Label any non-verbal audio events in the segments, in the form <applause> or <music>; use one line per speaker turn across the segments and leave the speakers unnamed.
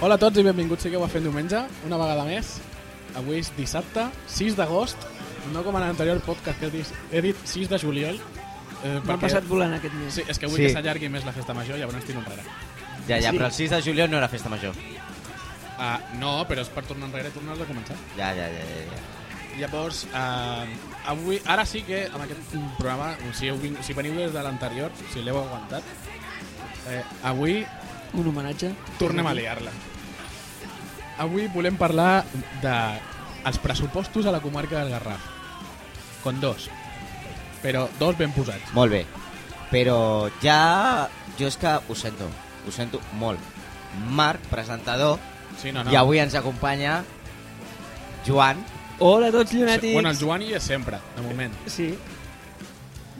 Hola a tots i benvinguts, sigueu a Fent Diumenge, una vegada més. Avui és dissabte, 6 d'agost, no com en l'anterior podcast que he dit, he dit 6 de juliol. Eh,
M'ha passat volant aquest mes.
Sí, és que vull
Sí.
sí. que s'allargui més la festa major, llavors tiro enrere.
Ja, ja,
Sí.
però el 6 de juliol no era festa major.
Ah, no, però és per tornar enrere i tornar a començar.
Ja, ja, ja, ja. ja.
Llavors, eh, avui, ara sí que amb aquest programa, si, heu, vin- si veniu des de l'anterior, si l'heu aguantat, eh, avui
Un homenatge.
tornem a liar-la. Avui volem parlar de els pressupostos a la comarca del Garraf. Con dos. Però dos ben posats.
Molt bé. Però ja... Jo és que ho sento. Ho sento molt. Marc, presentador,
Sí, no,
no,
Ah, no.
no. i avui ens acompanya Joan.
Hola a tots, llunàtics.
Bueno, el Joan hi és sempre, de moment.
Sí.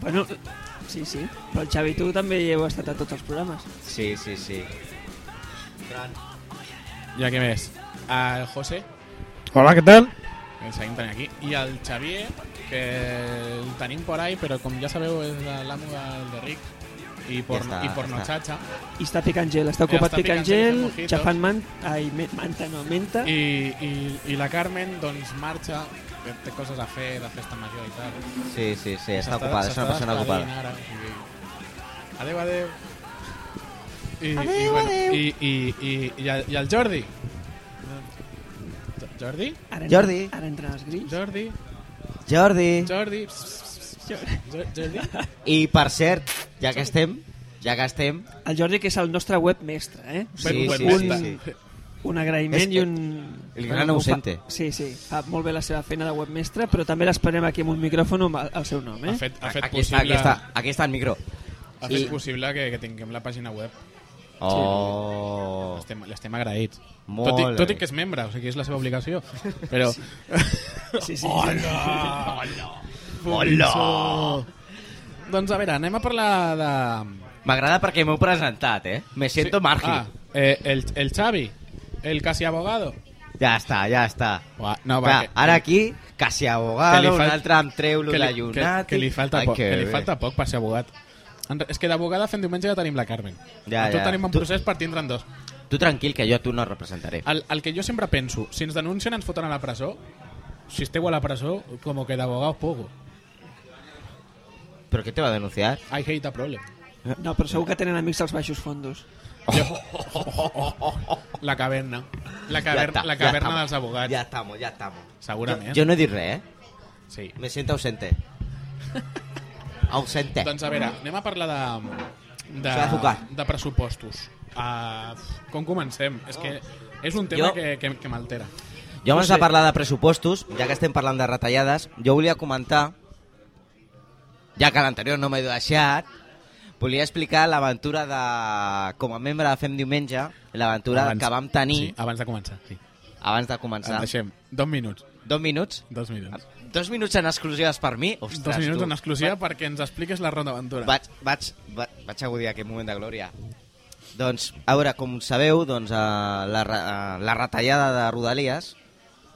Bueno, sí, sí. Però el Xavi, tu també hi heu estat a tots els programes.
Sí, sí, sí.
Ja què més? El José,
Hola, què tal?
que el seguim tenint aquí. I el Xavier, que el tenim por ahí, però com ja sabeu és l'amo del de Ric i porno,
està,
i porno
ja està.
xatxa.
I està picant gel, està
Ja
ocupat
està
picant
picant gel,
gel,
fent mojitos.
xafant man... Ai, me- manta, no, menta.
I, i, I la Carmen, doncs, marxa, que té coses a fer de festa major i tal.
Sí, sí, sí,
S'està-
està ocupada, és una
s'està
persona
despedint
ocupada.
Ara, o sigui, adeu, adeu. I, adeu, i, bueno, adeu. I, i, i, i, el, I el Jordi? Jo- Jordi?
Ara
Jordi.
Ara entren els grills.
Jordi?
Jordi!
Jordi? Pss, pss, pss, Jo- Jordi?
I per cert, ja que estem, ja que estem...
El Jordi, que és el nostre webmestre, eh?
Sí,
Bueno,
sí,
bueno,
sí,
està.
sí.
Un agraïment
És-
i un...
el gran
ho fa-
ausente.
Sí, sí. Fa molt bé la seva feina de webmestre, però també l'esperem aquí amb un micròfon amb el el seu nom, eh?
Ha fet, ha fet
aquí,
possible,
aquí, està, aquí està el micro.
ha fet possible que, que tinguem la pàgina web.
Oh,
Estem, L'estem agraïts.
Molt
tot, i,
bé.
tot i que és membre, o sigui, és la seva
<laughs>
obligació. Però...
Sí, sí.
Hola! Hola! Doncs a veure, anem a parlar de...
m'agrada perquè m'heu presentat, eh? Me siento
Sí.
margi.
Ah, eh, el, el Xavi, el casi abogado.
Ja està, ja està.
Ua, no, va,
Clar,
que-
ara aquí, casi abogado,
Que li
un
fal-
altre em treu lo
que
de
li, que,
Llunati.
que li falta
Ai,
poc, que, li
bé.
falta poc per ser abogat. En re- És que d'abogada fent diumenge ja tenim la Carmen.
Ja,
tu
ja.
tenim un
Tu-
procés per tindre'n dos.
Tu tranquil, que jo a tu no et representaré.
El, el que jo sempre penso, si ens denuncien ens foten a la presó, si esteu a la presó, com que d'abogados poco.
Però què te va denunciar?
I hate a problem.
No, però segur que tenen amics als baixos fondos.
La caverna. La,
Ja
caverna,
està,
la
ja
caverna
estamos.
dels abogats.
Ja estamos, ja estamos.
Segurament.
Jo, jo no he dit res, eh?
Sí.
Me
<laughs>
siento ausente. ausente.
Doncs a veure, anem a parlar de... De,
Eh. S'ha de focar.
de pressupostos. Uh, com comencem? És que és un tema
Jo-
que, que, que m'altera.
Jo abans
no sé.
de parlar de pressupostos, ja que estem parlant de retallades, jo volia comentar, ja que l'anterior no m'he deixat, volia explicar l'aventura de... com a membre de Fem Diumenge, l'aventura
Abans-
que vam tenir
Sí, abans de començar, sí.
sí. abans de
Ens
començar.
deixem. Dos minuts.
Dos minuts?
Dos minuts.
Dos minuts en exclusives per mi? Ostres,
Dos minuts
tu.
en exclusiva perquè ens expliques la ronda aventura.
Vaig, vaig, va- vaig agudir aquest moment de glòria. Doncs, a veure, com sabeu, doncs, eh, la, re- eh, la retallada de Rodalies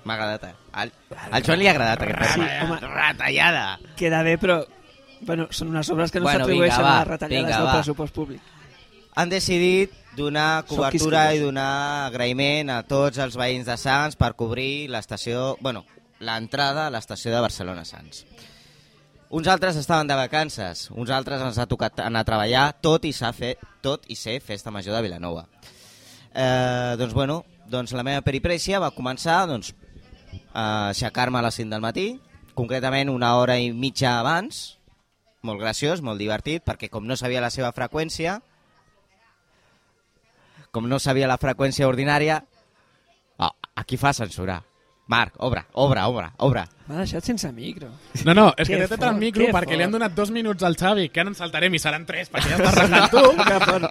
m'ha agradat. eh? Al, al Joan li ha agradat aquest
Sí,
partit.
home.
retallada!
Queda bé, però... Bueno, són unes obres que no
Bueno,
s'atribueixen
vinga,
a
va,
les retallades
vinga,
del
va.
pressupost públic.
Han decidit donar
Són
cobertura i
quisquillosos.
donar agraïment a tots els veïns de Sants per cobrir l'estació, bueno, l'entrada a l'estació de Barcelona Sants. Uns altres estaven de vacances, uns altres ens ha tocat anar a treballar, tot i, s'ha fet, tot i ser Festa Major de Vilanova. Eh, doncs, bueno, doncs la meva peripècia va començar doncs, a aixecar-me a les 5 del matí, concretament una hora i mitja abans, molt graciós, molt divertit, perquè com no sabia la seva freqüència, com no sabia la freqüència ordinària... Oh, aquí fa censurar. Marc, obre, obre, obre, obre.
M'ha deixat sense micro.
No, no, és que
Que
t'he tret el
fort,
micro
que
perquè li han
fort.
donat dos minuts al Xavi, que ara en saltarem i seran tres, perquè
<laughs>
ja estàs arreglant tu.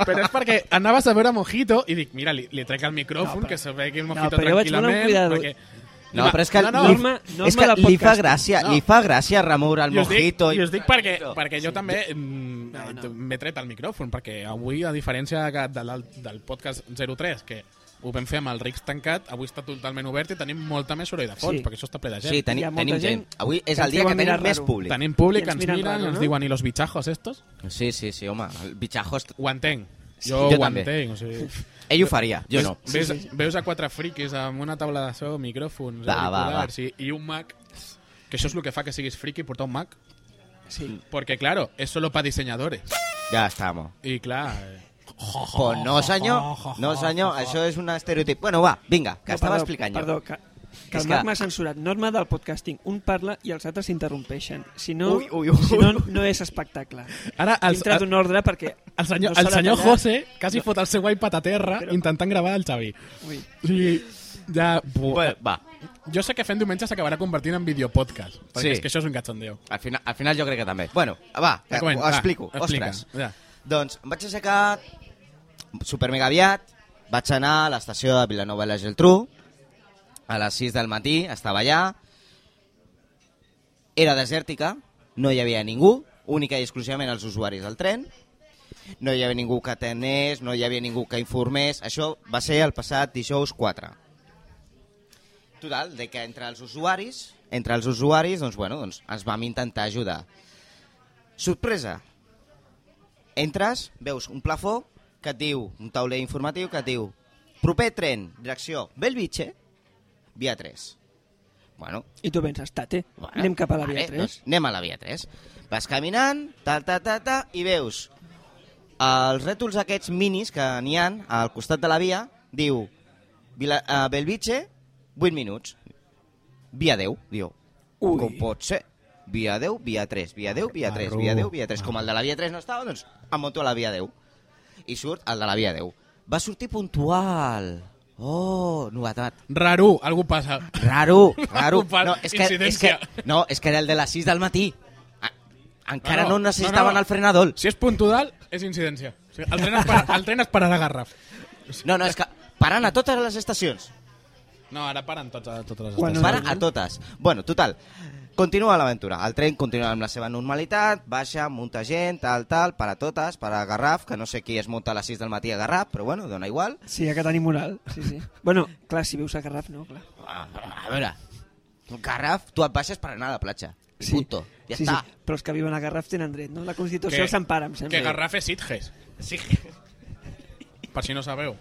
però és perquè anaves a veure Mojito i dic, mira, li, li trec el micròfon,
No, però-
que se vegi el
No,
Mojito
però jo vaig voler un
tranquil·lament.
cuidado.
perquè...
No, però és que,
no,
li-
no, em
li,
norma-
és
norma
que
de
li fa
podcast.
gràcia,
No.
li fa gràcia remoure el
I us dic,
mojito.
i us dic perquè, perquè jo
Sí.
també mm, eh,
No, no.
m'he tret el micròfon, perquè avui, a diferència que de, del, del podcast 03, que ho vam fer amb el Rics tancat, avui està totalment obert i tenim molta més soroll de fons,
Sí.
perquè això està ple de gent.
Sí,
Hi ha
tenim,
molta
tenim gent.
gent
Avui és
que
el
ens
dia
diuen
que tenim
mirar
més
raro.
públic.
Tenim públic
I
que
ens
ens
miren
miren,
raro,
ens
no?
diuen i los bichajos estos?
Sí, sí, sí, home. El bitxajos...
Ho entenc. Jo,
jo
ho
també.
entenc, o sigui...
Ell ho faria, jo
veus,
no.
Veus, veus a quatre friquis amb una taula de so, micròfons,
Va, va, va.
auriculars i, i un Mac, que això és el que fa que siguis friki portar un Mac,
Mm.
Sí.
porque claro, es solo para diseñadores. eh,
Ja estamos.
Y claro,
Pues no, senyor. No, senyor. Això és un estereotip. Bueno, va, vinga, que
No,
estava
perdó,
explicant jo.
Perdó, que, que
És
el
que-
Marc m'ha censurat. Norma del podcasting. Un parla i els altres s'interrompeixen. Si no,
Ui, ui, ui.
Si no, no
<laughs>
és espectacle.
Ara, el,
Dintre
el,
d'un ordre perquè...
el senyor,
no s'ha
el
de
senyor
tallar.
José casi fot el seu iPad a terra
Però-
intentant gravar el Xavi.
Ui,
O sigui, ja...
Bueno, va,
Jo sé que fent diumenge s'acabarà convertint en videopodcast, perquè
Sí.
és que això és un cachondeo.
al final, al final jo crec que també. Bueno, va, que,
Ja comenta,
ho
va,
explico.
explica,
Ostres.
Ja.
Doncs em vaig aixecar supermega aviat, vaig anar a l'estació de Vilanova i la Geltrú, a les 6 del matí, estava allà, era desèrtica, no hi havia ningú, única i exclusivament els usuaris del tren, no hi havia ningú que atenés, no hi havia ningú que informés, això va ser el passat dijous 4. Total, de que entre els usuaris, entre els usuaris, doncs, bueno, doncs, ens vam intentar ajudar. Sorpresa, entres, veus un plafó que et diu, un tauler informatiu que et diu proper tren, direcció Belvitge, via 3. Bueno,
I tu penses, tate,
bueno,
anem cap a la via
vale,
3.
Doncs anem a la via 3. Vas caminant, ta, ta, ta, ta, i veus els rètols aquests minis que n'hi han al costat de la via, diu Vila, uh, Belvitge, 8 minuts. Via 10, diu.
Ui.
Com pot ser? Via 10, via 3, via 10, via 3,
Marru.
via 10, via 3. Com el de la via 3 no estava, doncs em monto a la via 10. I surt el de la via 10. Va sortir puntual. Oh, novetat.
Raro, algú passa.
Raro, raro.
Culpa,
No, és que, és que,
incidència.
no, és que era el de les 6 del matí. A- Encara
No,
no,
no,
necessitaven
no, no.
el frenador.
Si és puntual, és incidència. O sigui, el, tren es para, el tren es pararà a Garraf.
No, no, és que paren a totes les estacions.
No, ara paren tots, a totes les
Quan
estacions.
no,
Para
no.
a totes. Bueno, total. Continua l'aventura. El tren continua amb la seva normalitat, baixa, munta gent, tal, tal, per a totes, per a Garraf, que no sé qui es munta a les 6 del matí a Garraf, però bueno, dona igual.
Sí, ja que tenim moral. Sí,
<laughs>
sí. Bueno, clar, si vius a Garraf, no, clar.
A a veure, Garraf, tu et baixes per anar a la platja. I
Sí.
punto. Ja
sí,
està.
Sí. Però els que viuen a Garraf tenen dret, no? La Constitució
Que-
els empara, em sembla.
Que Garraf és Sitges. Per si no sabeu.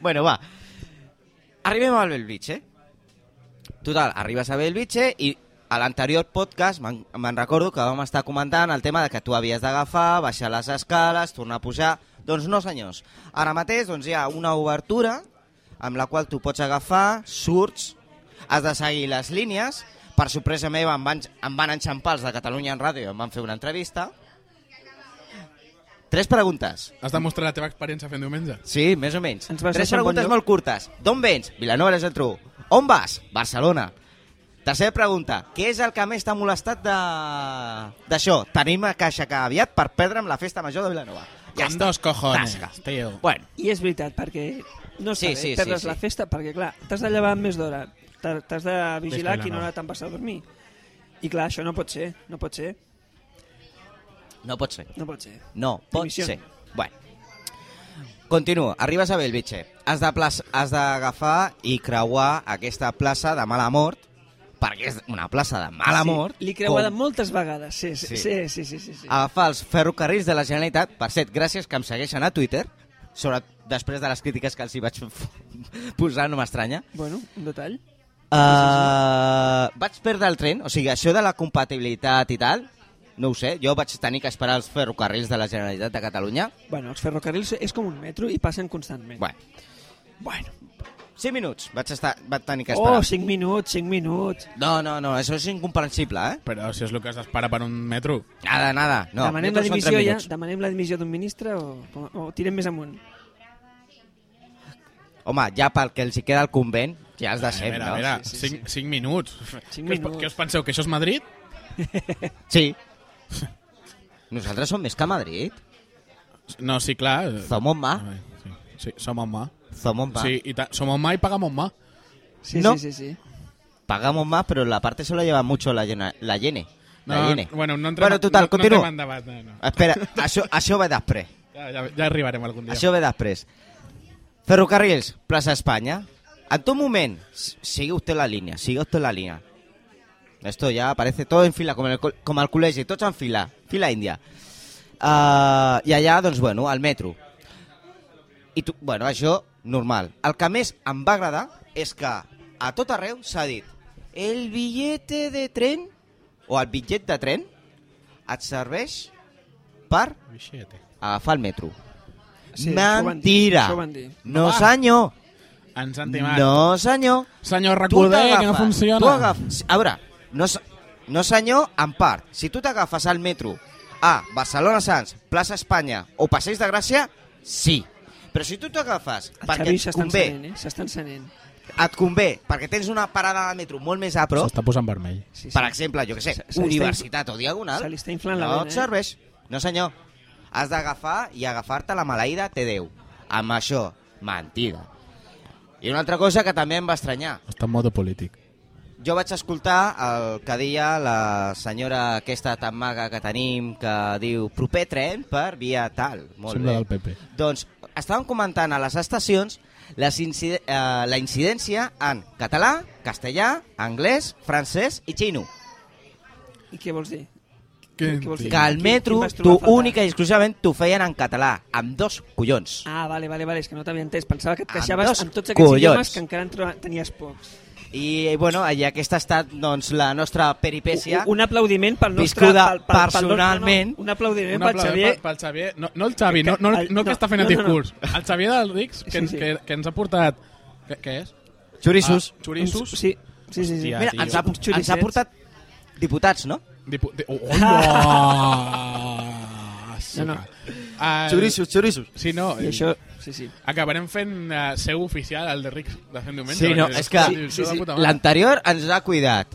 Bueno, va. Arribem al Belvitge. Total, arribes a Belvitge i a l'anterior podcast me'n me'n recordo que vam estar comentant el tema de que tu havies d'agafar, baixar les escales, tornar a pujar... Doncs no, senyors. Ara mateix doncs, hi ha una obertura amb la qual tu pots agafar, surts, has de seguir les línies. Per sorpresa meva em van, em van enxampar els de Catalunya en ràdio i em van fer una entrevista. Tres preguntes.
Has de mostrar la teva experiència fent diumenge.
Sí, més o menys.
Ens vas
Tres
deixar en bon
preguntes
lloc.
molt curtes. D'on vens? Vilanova és el tru. On vas? Barcelona. Tercera pregunta. Què és el que més t'ha molestat de- d'això? Tenim que aixecar aviat per perdre'm la festa major de Vilanova. Ja
Con
està.
dos cojones,
Tasca.
tio.
Bueno,
I és veritat, perquè no
Sí,
està sí, bé
sí,
sí,
sí,
perdre's
sí.
la festa, perquè clar, t'has de llevar amb més d'hora, t'ha- t'has de vigilar
Més que la
quina
nova.
hora te'n vas a dormir. I clar, això no pot ser, no pot ser,
no pot ser.
no pot ser.
No pot
Dimisión.
ser. Bueno. Continua. Arribes a Belvitge. Has de plaça- has d'agafar i creuar aquesta plaça de mala mort, perquè és una plaça de
Ah,
mala mort.
Sí, l'he creuada
com-
moltes vegades, sí, sí,
Sí.
sí,
Ah.
sí, sí, sí, sí.
agafar els ferrocarrils de la Generalitat. Per cert, gràcies que em segueixen a Twitter, sobre, després de les crítiques que els hi vaig <laughs> posar, no m'estranya.
Bueno, un detall.
Uh, vaig perdre el tren, o sigui, això de la compatibilitat i tal, no ho sé, jo vaig tenir que esperar els ferrocarrils de la Generalitat de Catalunya.
Bueno, els ferrocarrils és com un metro i passen constantment.
Bueno,
bueno.
5 minuts vaig, estar, vaig tenir que esperar.
Oh, 5 minuts, 5 minuts.
No, no, no, això és incomprensible, eh?
Però si és el que es despara per un metro.
Nada, nada. No,
demanem la
minuts són tres
dimissió ja,
minuts.
demanem la dimissió d'un ministre o, o, o tirem més amunt.
Home, ja pel que els hi queda al convent, ja els
A
deixem,
veure,
Eh, no?
a veure,
Sí, sí,
5 minuts.
Cinc
Què us,
minuts.
què us penseu, que això és Madrid?
Sí. <laughs> Nosaltres som més que Madrid.
No, sí, clar.
Som on
A veure, Sí, sí som on mà.
Som on va.
Sí, i ta, som on mà i pagam on mà.
Sí,
No.
sí, sí, sí.
Pagamos más, pero la parte solo lleva mucho la llena, la llene. La
No,
llene.
bueno, no entrem,
bueno, total,
no,
continua.
No entrem en debat, no, no. <laughs>
Espera, això, això ve després.
Ja, ja, ja arribarem algun dia.
Això ve després. Ferrocarrils, plaça Espanya. En tot moment, s- sigue usted la línea, sigue usted la línea. Esto ya aparece todo en fila, com el, co- com el Ah, col·legi, tots en fila, fila índia. Uh, I allà, doncs, bueno, al metro. I tu, bueno, això, normal. El que més em va agradar és que a tot arreu s'ha dit el billete de tren o el bitllet de tren et serveix per
Bixete.
agafar el metro.
Sí, això ho van dir,
Mentira!
això ho van dir.
No,
Va.
senyor!
Ens han timat.
No, senyor!
Senyor,
Tu
recordeu que no
t'agafes,
funciona.
Tu agafes, a veure, no, se- no senyor, en part. Si tu t'agafes al metro a Barcelona Sants, plaça Espanya o Passeig de Gràcia, sí. Però si tu t'agafes
El
perquè
Xavi
et
s'està
convé,
encenent, eh? S'està encenent.
et convé, perquè tens una parada de metro molt més a prop,
S'està posant vermell.
Sí, sí.
per exemple, jo que sé,
Se- se li està
universitat o diagonal,
se li està inflant la
no
vena,
et
eh?
serveix. No senyor, has d'agafar i agafar-te la maleïda T10. Amb això, mentida. I una altra cosa que també em va estranyar,
Està en modo polític.
jo vaig escoltar el que deia la senyora aquesta tan maga que tenim, que diu proper tren per via tal. Molt
Sembla
bé.
del PP.
Doncs estàvem comentant a les estacions les incide eh, la incidència en català, castellà, anglès, francès i xino.
I què vols dir?
Què
Què vols
en
dir?
Que al
Quin-
metro,
quin vas trobar
tu
a faltar?
única i exclusivament t'ho feien en català, amb dos collons.
Ah, vale, vale, vale, és que no t'havia entès. Pensava que et
Amb
queixaves
Ah, dos
amb, tots aquests
collons.
idiomes que encara en troba- tenies pocs.
I, bueno, i aquesta ha estat doncs, la nostra peripècia.
Un, un aplaudiment pel nostre...
Viscuda
pel, pel, pel,
personalment.
No, no, un
Un
aplaudiment Eh, pel
aplaudiment
Xavier.
pel, pel Xavier. No, no el Xavi, no, no, el,
Que-
no el que
no,
està fent el
no, no, no.
discurs. El Xavier del Rix, que,
Sí, sí.
Que, que ens ha portat... Què, què és?
Xorissos.
Ah, xorissos.
Sí, sí, sí. sí.
Hòstia,
Mira,
tio.
ens ha,
Uns
ens ha
xoricets.
portat diputats, no?
Dipu
<laughs>
de, oh, hola!
No, no.
El,
xorissos.
Sí, no.
I això... Sí, sí.
Acabarem fent uh, seu oficial, el de Rix, de fent diumenge.
Sí, no,
perquè
és que
dius,
sí,
"Això de
sí,
puta mare".
L'anterior ens ha cuidat.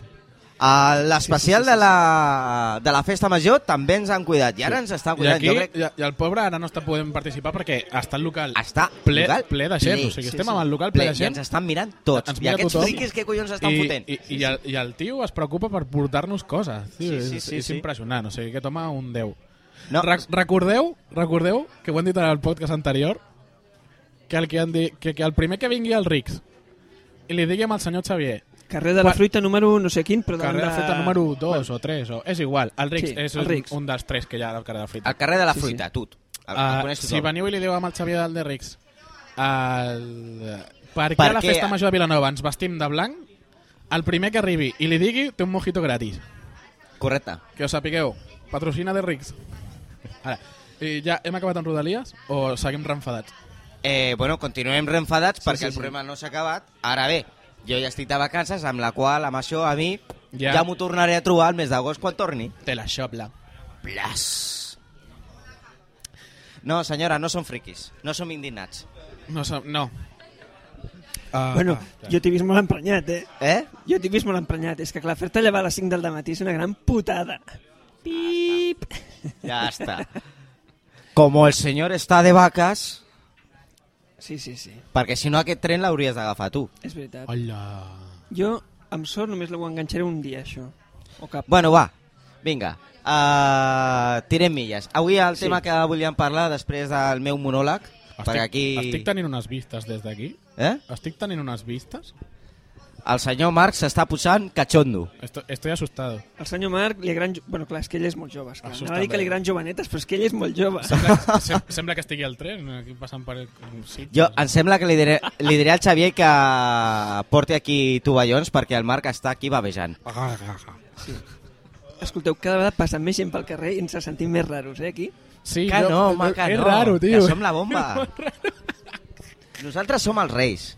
A L'especial de, la, de la festa major també ens han cuidat. I ara ens estan
I
cuidant.
aquí,
Jo crec
i, i el pobre ara no està podent participar perquè està el local
està
ple,
local,
ple de gent.
ple,
o sigui,
sí,
estem
sí.
amb el local
ple,
ple de
i ens
gent.
estan mirant tots.
Ens
I
mira
aquests
tothom.
friquis que collons estan fotent.
I, i, el, I el tio es preocupa per portar-nos coses. Tio,
Sí, sí,
és,
sí,
és
sí.
impressionant, o sigui, que toma un 10.
no,
Re recordeu, recordeu que ho han dit en el podcast anterior, que el, que, han dit, que, que el primer que vingui al Rix i li diguem al senyor Xavier
Carrer de la
Quan-
Fruita número no sé quin, però davant
carrer de la fruita número 2 o 3, o, és igual, el Rix
Sí,
és
el
un-
Rix.
un dels tres que hi ha al carrer de la fruita.
al carrer de la
Sí, sí.
fruita, tu. El, el
Ah,
coneix
si
tothom.
veniu i li diu amb el Xavier del de Rix el... per què
Per
a la
què?
festa major de Vilanova ens vestim de blanc el primer que arribi i li digui té un mojito gratis
Correcte.
que us sapigueu patrocina de Rix Ara, i ja hem acabat amb Rodalies o seguim renfadats
Eh, bueno, continuem reenfadats perquè
sí,
el
sí.
problema no s'ha acabat. Ara bé, jo ja estic de vacances, amb la qual amb això a mi
Ja.
ja, ja m'ho tornaré a trobar el mes d'agost quan torni.
te la xopla
Plas. No, senyora, no som friquis, no som indignats.
no, som- no. Uh,
Bueno, jo t'he vist molt emprenyat, eh?
Eh?
Jo t'he vist molt emprenyat. És que, clar, fer-te llevar a les 5 del matí és una gran putada. Pip!
Ja <laughs> està. Como el senyor està de vaques,
Sí, sí, sí.
perquè si no aquest tren l'hauries d'agafar tu.
És veritat.
hola
Jo, amb sort, només ho enganxaré un dia, això. O cap.
Bueno, va, vinga, uh, tirem milles. Avui el
Sí.
sí. tema que volíem parlar després del meu monòleg, estic,
estic,
perquè aquí
estic tenint unes vistes des d'aquí
eh?
estic tenint unes vistes
el senyor Marc s'està posant catxondo.
estoy, estoy
<laughs>
asustado
El senyor Marc, li gran... Bueno, clar, és que ell és molt jove. Esclar.
Això
Anava a dir
està
que
bé.
li gran jovenetes, però és que ell és molt jove.
sembla, sem- sembla que estigui al tren aquí passant per un sitio
Jo, em sembla que li diré, li diré al Xavier que porti aquí tovallons perquè el Marc està aquí babejant.
Ah,
Escolteu, cada vegada passa més gent pel carrer i ens sentim més raros, eh, aquí?
Sí,
Que
jo-
no, home, que
és
no.
raro, tio.
Que som la
<laughs>
bomba. Nosaltres som els reis.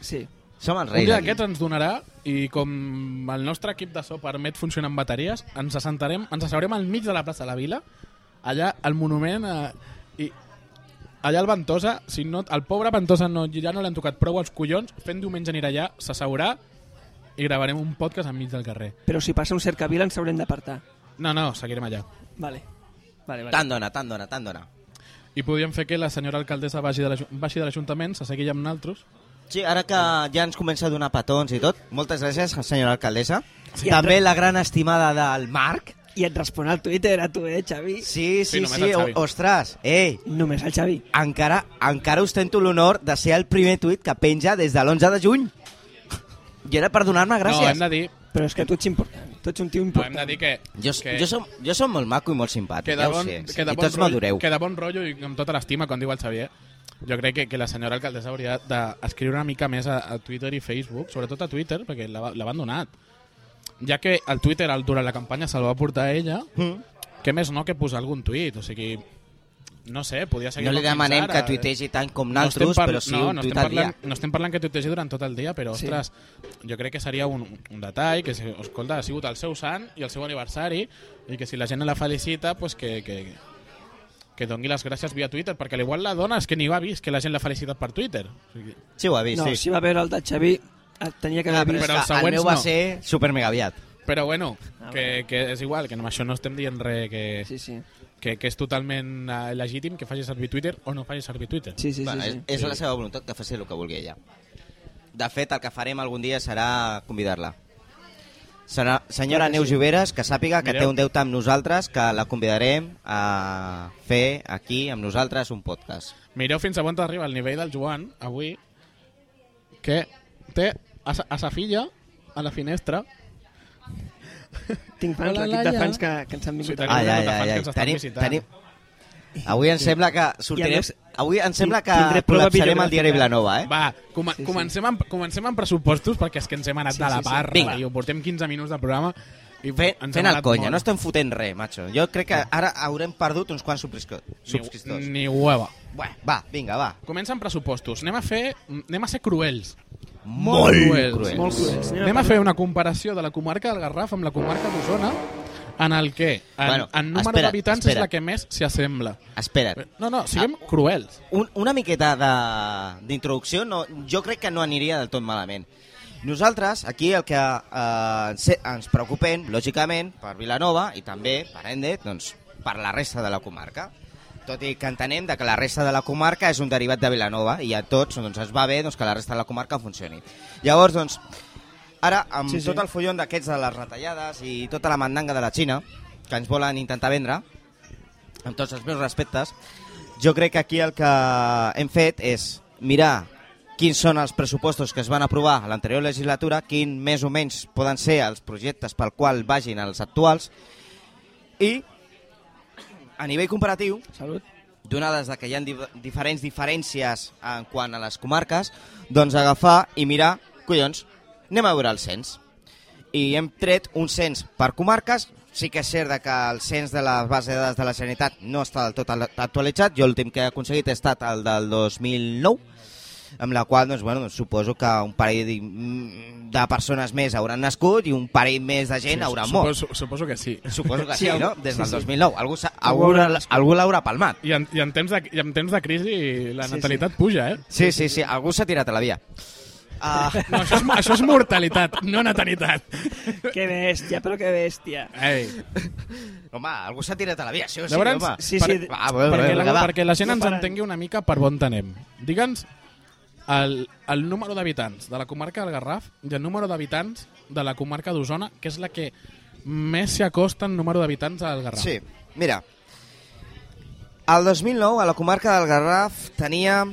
Sí.
Som els
Un
reis.
dia
aquí.
d'aquests ens donarà i com el nostre equip de so permet funcionar amb bateries, ens assentarem, ens asseurem al mig de la plaça de la Vila, allà al monument eh, i allà al Ventosa, si no, el pobre Ventosa no, ja no l'han tocat prou als collons, fent diumenge anirà allà, s'asseurà i gravarem un podcast enmig del carrer.
Però si passa un cercavila ens haurem d'apartar.
No, no, seguirem allà.
Vale. Vale, vale.
Tant dona, tant dona, tant dona.
I podríem fer que la senyora alcaldessa vagi de l'Aju- vagi de l'Ajuntament, se segui amb naltros.
Sí, ara que ja ens comença a donar petons i tot, moltes gràcies, senyora alcaldessa.
Sí,
També
altre-
la gran estimada del Marc.
I et respon al Twitter, a tu, eh, Xavi?
Sí, sí, sí,
només el
o-
Xavi.
ostres, ei,
Només al Xavi.
encara, encara ostento l'honor de ser el primer tuit que penja des de l'11 de juny. I era per donar-me
No,
gràcies.
hem de dir,
Però és que tu ets important. Tu ets un tio
no, hem de
important.
dir que...
Jo,
que...
jo, som, jo som molt maco i molt simpàtic,
que de
ja ho
bon,
sé.
que de
I
bon
tots
rotllo,
madureu.
que de bon rotllo i amb tota l'estima, com diu el Xavier, jo crec que, que la senyora alcaldessa hauria d'escriure una mica més a, a Twitter i Facebook, sobretot a Twitter, perquè l'ha- l'han donat. Ja que el Twitter el, durant la campanya se'l va portar ella,
Hm?
què més no que posar algun tuit? O sigui, no sé, podia seguir...
No li
com fins
demanem
ara. eh?
que tuitegi tant com
No estem
naltros,
par-
però sí
no,
un
no
tuit
estem
al dia.
parlant, No estem parlant que tuitegi durant tot el dia, però,
Sí.
ostres, jo crec que seria un, un detall, que, si- escolta, ha sigut el seu sant i el seu aniversari, i que si la gent la felicita, pues que, que, que doni les gràcies via Twitter, perquè a l'igual la dona és que ni ho ha vist, que la gent l'ha felicitat per Twitter. O sigui,
Sí, ho ha vist,
No,
sí.
si va veure el de Xavi, el tenia que
Ah,
haver
però,
és
vist.
Però
és
els
que el
següents
meu va
no.
ser super mega aviat.
Però bueno,
Ah,
que, que és igual, que amb això no estem dient res, que,
Sí, sí.
que, que és totalment eh, legítim que faci servir Twitter o no faci servir Twitter.
Sí, sí,
bueno,
sí,
és,
sí.
és la seva voluntat que faci el que vulgui ella. De fet, el que farem algun dia serà convidar-la. Serà, senyora
Clar que
Neus
sí.
Lloberes, que sàpiga que
Mireu.
té un deute amb nosaltres, que la convidarem a fer aquí amb nosaltres un podcast.
Mireu fins a on arriba el nivell del Joan, avui, que té a sa, a sa filla a la finestra.
Tinc fans,
Hola,
l'equip de
Laia.
fans que, que ens han vingut
Sí,
a
tenim-
veure.
un grup de fans que ens estan visitant.
Avui em sembla que sortirem...
més,
Avui em sembla
tindré
que
prova
col·lapsarem el
videogràfica.
diari Vilanova,
Eh?
eh?
Va, com
Sí, sí.
comencem, amb, comencem amb pressupostos perquè és que ens hem anat
Sí,
sí, de la
sí, sí.
barra
Vinga.
i ho portem 15 minuts de programa i
Fe,
ens
fent
hem
el
anat
conya,
molt.
no estem fotent res, macho. Jo crec que ara haurem perdut uns quants subscriptors. subscriptors.
Ni, ni hueva.
Bueno, va, vinga, va.
Comença amb pressupostos. Anem a, fer, anem a ser cruels.
Molt,
cruels.
cruels.
Molt cruels.
Anem a fer una comparació de la comarca del Garraf amb la comarca d'Osona en el que en,
Bueno, Eh.
bueno, en número
espera't,
d'habitants és
espera't.
la que més s'hi assembla.
Espera't.
No, no, siguem
Ah.
cruels.
un, una miqueta de- d'introducció no, jo crec que no aniria del tot malament. Nosaltres, aquí el que eh, ens- ens preocupem, lògicament, per Vilanova i també per Endet, doncs, per la resta de la comarca. Tot i que entenem de que la resta de la comarca és un derivat de Vilanova i a tots doncs, ens va bé doncs, que la resta de la comarca funcioni. Llavors, doncs, ara, amb
Sí,
sí,
sí.
sí. tot el follon d'aquests de les retallades i tota la mandanga de la Xina, que ens volen intentar vendre, amb tots els meus respectes, jo crec que aquí el que hem fet és mirar quins són els pressupostos que es van aprovar a l'anterior legislatura, quin més o menys poden ser els projectes pel qual vagin els actuals i a nivell comparatiu,
Salut.
donades de que hi ha di diferents diferències en quant a les comarques, doncs agafar i mirar, collons, anem a veure el cens. I hem tret un cens per comarques, sí que és cert de que el cens de la base de dades de la Generalitat no està del tot al- actualitzat, jo l'últim que he aconseguit ha estat el del 2009, amb la qual doncs, bueno, doncs, suposo que un parell de, de persones més hauran nascut i un parell més de gent sí, haurà
Suposo-
mort.
Suposo, suposo que sí.
Suposo
<laughs>
que
Sí,
sí, no?
algú-
Des
sí,
del
sí.
2009. Algú, s'ha-
Algú
algú,
haurà
l'ha-
nascut.
algú l'haurà palmat.
I en, i en, temps, de, i en temps de crisi la
Sí,
natalitat puja, eh?
Sí, sí, sí, algú s'ha tirat a la via. Ah,
No, això, és, això és mortalitat, no natalitat.
Que bèstia, però que bèstia.
Ei,
<laughs> home, algú s'ha tirat a la via, sí o sí,
Llavors,
home.
sí,
per-
sí,
Va, va, va,
perquè,
va,
la,
va.
perquè la gent
No
ens
paren.
entengui una mica per on anem. Digue'ns el, el número d'habitants de la comarca del Garraf i el número d'habitants de la comarca d'Osona, que és la que més s'hi acosta en número d'habitants al Garraf.
Sí, mira. El 2009, a la comarca del Garraf, tenia...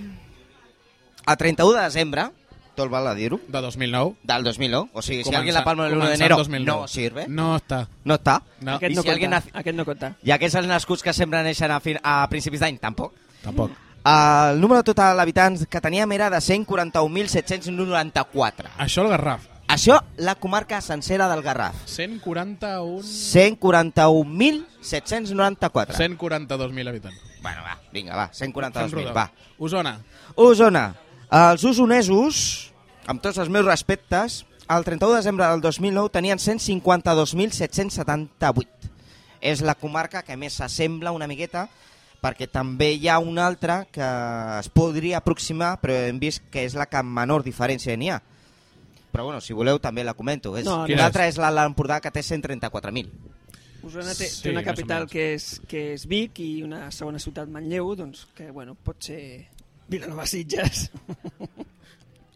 A 31 de desembre, tot val a dir-ho,
De 2009.
del 2009. O sigui, si
Comença-
alguien la palma el 1 de
comença
enero,
2009.
no sirve.
No està.
No està.
No,
Aquest,
I
no
si alguien
compta,
nace-
aquest no compta.
I aquests els nascuts que sempre neixen a, fin... a principis d'any, tampoc.
tampoc.
El número total d'habitants que teníem era de 141.794.
Això el Garraf.
Això, la comarca sencera del Garraf.
141...
141.794.
142.000 habitants.
Bueno, va, vinga, va,
Fem rodó.
142.000, va.
Osona,
Osona, els usonesos, amb tots els meus respectes, el 31 de desembre del 2009 tenien 152.778. És la comarca que més s'assembla una miqueta, perquè també hi ha una altra que es podria aproximar, però hem vist que és la que amb menor diferència n'hi ha. Però bueno, si voleu també la comento. És,
No,
no,
no.
no. L'altra és la de l'Empordà, que té 134.000.
Osona té,
Sí,
té una
més o
capital
menys.
que és, que és Vic i una segona ciutat Manlleu, doncs que, bueno, pot ser Vilanova Sitges.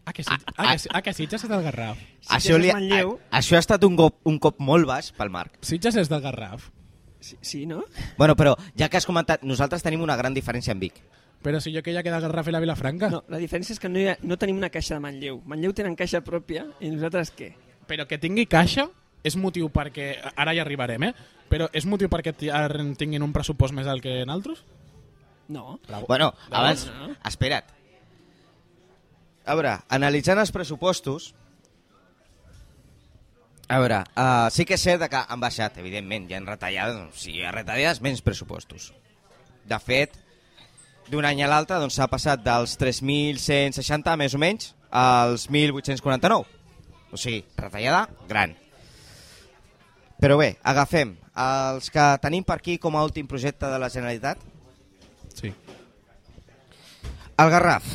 Ah, que, Sitges, ah, que, Si- ah, que Sitges és del Garraf.
Això, li,
és Manlleu.
a, això ha estat un cop, un cop molt baix pel Marc.
Sitges és del Garraf.
<laughs> Sí, sí no?
Bueno, però ja que has comentat, nosaltres tenim una gran diferència amb Vic.
Però si jo que ja queda el Garraf i la Vilafranca.
No, la diferència és que no, hi ha, no tenim una caixa de Manlleu. Manlleu tenen caixa pròpia i nosaltres què?
Però que tingui caixa és motiu perquè... Ara hi arribarem, eh? Però és motiu perquè ti- ara en tinguin un pressupost més alt que en altres?
No.
Bueno,
Bravo, Ah.
abans...
no?
Espera't. A veure, analitzant els pressupostos... A veure, uh, sí que és cert que han baixat, evidentment, hi ha retallades, doncs, si hi ha retallades, menys pressupostos. De fet, d'un any a l'altre doncs, s'ha passat dels 3.160, més o menys, als 1.849. O sigui, retallada gran. Però bé, agafem els que tenim per aquí com a últim projecte de la Generalitat,
Sí.
El Garraf,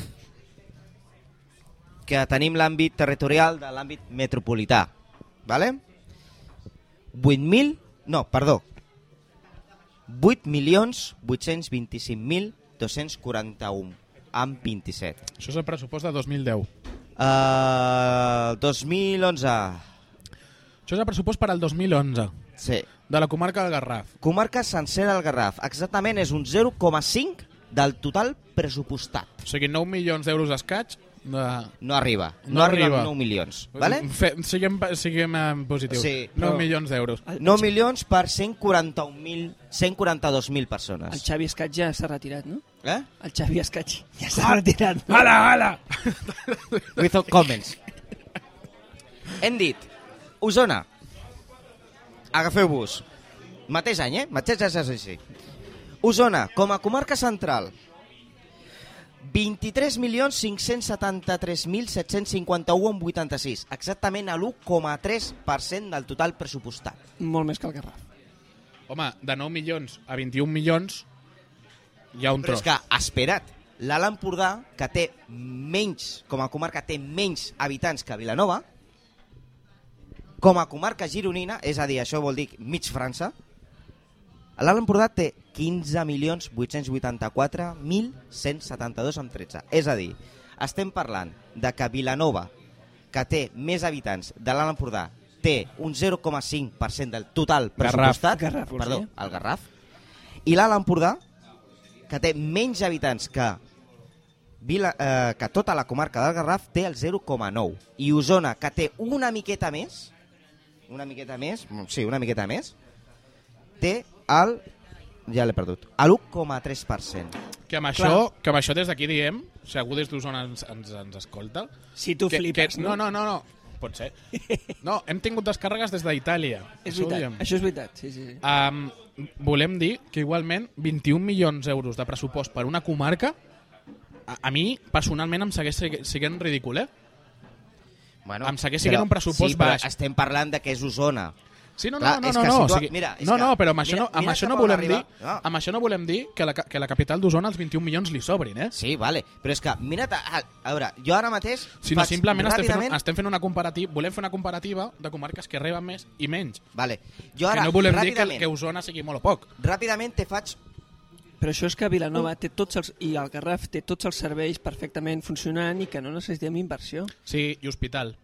que tenim l'àmbit territorial de l'àmbit metropolità, vale? 8.000, no, perdó, 8.825.241 amb 27.
Això és el pressupost de 2010.
Uh, 2011,
Això és el pressupost per al 2011
sí.
de la comarca del Garraf.
Comarca sencera del Garraf, exactament és un 0,5 del total pressupostat.
O sigui, 9 milions d'euros escaig de...
No arriba,
No
no, arriba,
arriba.
a 9 milions, vale?
Fe, siguem, siguem en positiu.
Sí,
9
però-
milions d'euros.
9 milions per 141.000 142.000
El
persones.
Xavi Escat ja s'ha retirat, no?
Eh?
El Xavi Escat ja s'ha retirat. No?
Hala, hala!
Without comments. Hem dit, Osona, agafeu-vos. Mateix any, eh? Mateix any és així. Osona, com a comarca central, 23.573.751 amb 86, exactament a l'1,3% del total pressupostat.
Molt més que el Garraf.
Home, de 9 milions a 21 milions hi ha un
Però
tros.
és que, esperat, l'Alt Empordà, que té menys, com a comarca té menys habitants que Vilanova, com a comarca gironina, és a dir, això vol dir mig França, l'Alt Empordà té 15.884.172 amb 13. És a dir, estem parlant de que Vilanova, que té més habitants de l'Alt Empordà, té un 0,5% del total pressupostat.
Garraf, vols
perdó,
dir?
el Garraf. I l'Alt Empordà, que té menys habitants que Vila, eh, que tota la comarca del Garraf té el 0,9 i Osona, que té una miqueta més una miqueta més mm, sí, una miqueta més té el ja l'he perdut a l'1,3%
Que amb això, que amb això des d'aquí diem, si algú des d'Osona ens, ens, ens escolta...
Si tu
que,
flipes,
que,
no?
No, no, no, no. Pot
<laughs>
ser. No, hem tingut descàrregues des d'Itàlia.
És
Això ho
veritat,
diem.
això és veritat. Sí, sí, sí.
Um, volem dir que igualment 21 milions d'euros de pressupost per una comarca a, a mi personalment em segueix sig- siguent ridícul, eh?
bueno,
Em segueix siguent un pressupost
sí, però
baix.
estem parlant de que és Osona
Sí, no, no,
Clar,
no,
és
no,
que
no,
situa-
o sigui,
mira, és
no,
que-
no, però amb això
mira-
no, amb
mira
això
cap
no
on
volem dir,
arriba. No.
amb això no volem dir que la, ca- que la capital d'Osona els 21 milions li sobrin, eh?
sí, vale, però és que mira't a, a, a veure, jo ara mateix
Sinó
faig
simplement estem fent,
ràpidament-
estem fent una comparativa, volem fer una comparativa de comarques que reben més i menys.
vale, jo
que
ara
no volem dir que,
ràpidament,
que Osona sigui molt o poc.
ràpidament te faig
Però això és que Vilanova
Mm.
té tots els, i el Garraf té tots els serveis perfectament funcionant i que no necessitem inversió.
Sí, i Hospital.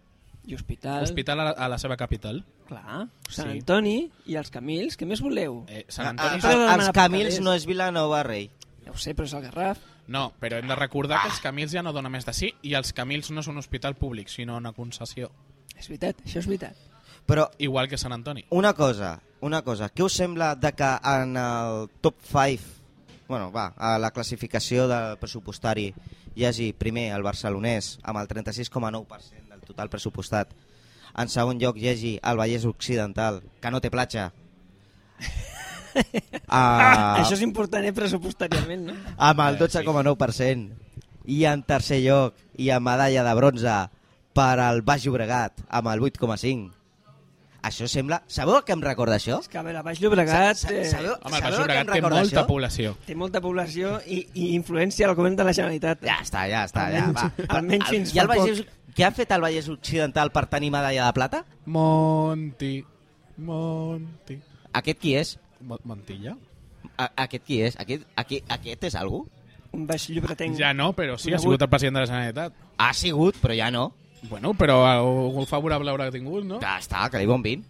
I hospital,
Hospital a la, a la seva capital.
clar, Sant
Sí.
Antoni i els Camils, què més voleu?
Eh,
a,
Sant
a,
Antoni...
Ah, ah,
és-
de
els
demanar
Camils
papelers.
no és Vilanova Rei
Ja ho sé, però és el Garraf.
ah.
No, però hem de recordar que els Camils ja no donen més de sí i els Camils no és un hospital públic, sinó una concessió.
És veritat, això és veritat.
però
Igual que Sant Antoni.
Una cosa, una cosa. Què us sembla de que en el top 5, bueno, va, a la classificació del pressupostari hi hagi primer el barcelonès amb el 36,9% del total pressupostat, en segon lloc hi hagi el Vallès Occidental, que no té
<laughs>
platja,
Ah.
ah,
<laughs> Això Eh, és important, eh, pressupostàriament, no?
amb el 12,9%, i en tercer lloc, i amb medalla de bronze per al Baix Llobregat, amb el 8,5%. Això sembla... Sabeu a què em recorda això?
És que, a veure, Baix Llobregat
Sa- sa-
eh,
sabeu-
Home, el
Sabeu
Baix
a què em
Llobregat té
recorda
molta
això?
població.
té molta població i, i influència al govern de la Generalitat.
Ja està, ja està, ja,
Almenys-
va.
<laughs> almenys fins
I el
fa
Vallès, què ha fet el Vallès Occidental per tenir medalla de plata?
Monti, Monti...
Aquest qui és?
Mo- Montilla?
A aquest qui és? Aquest, aquí, aquest és algú?
Un Baix Llobretenc.
Ja no, però sí, ha
Conegut.
sigut el president de la Generalitat.
Ha sigut, però ja no.
Bueno, però algú favorable haurà tingut, no?
Ja està, que li bon vin.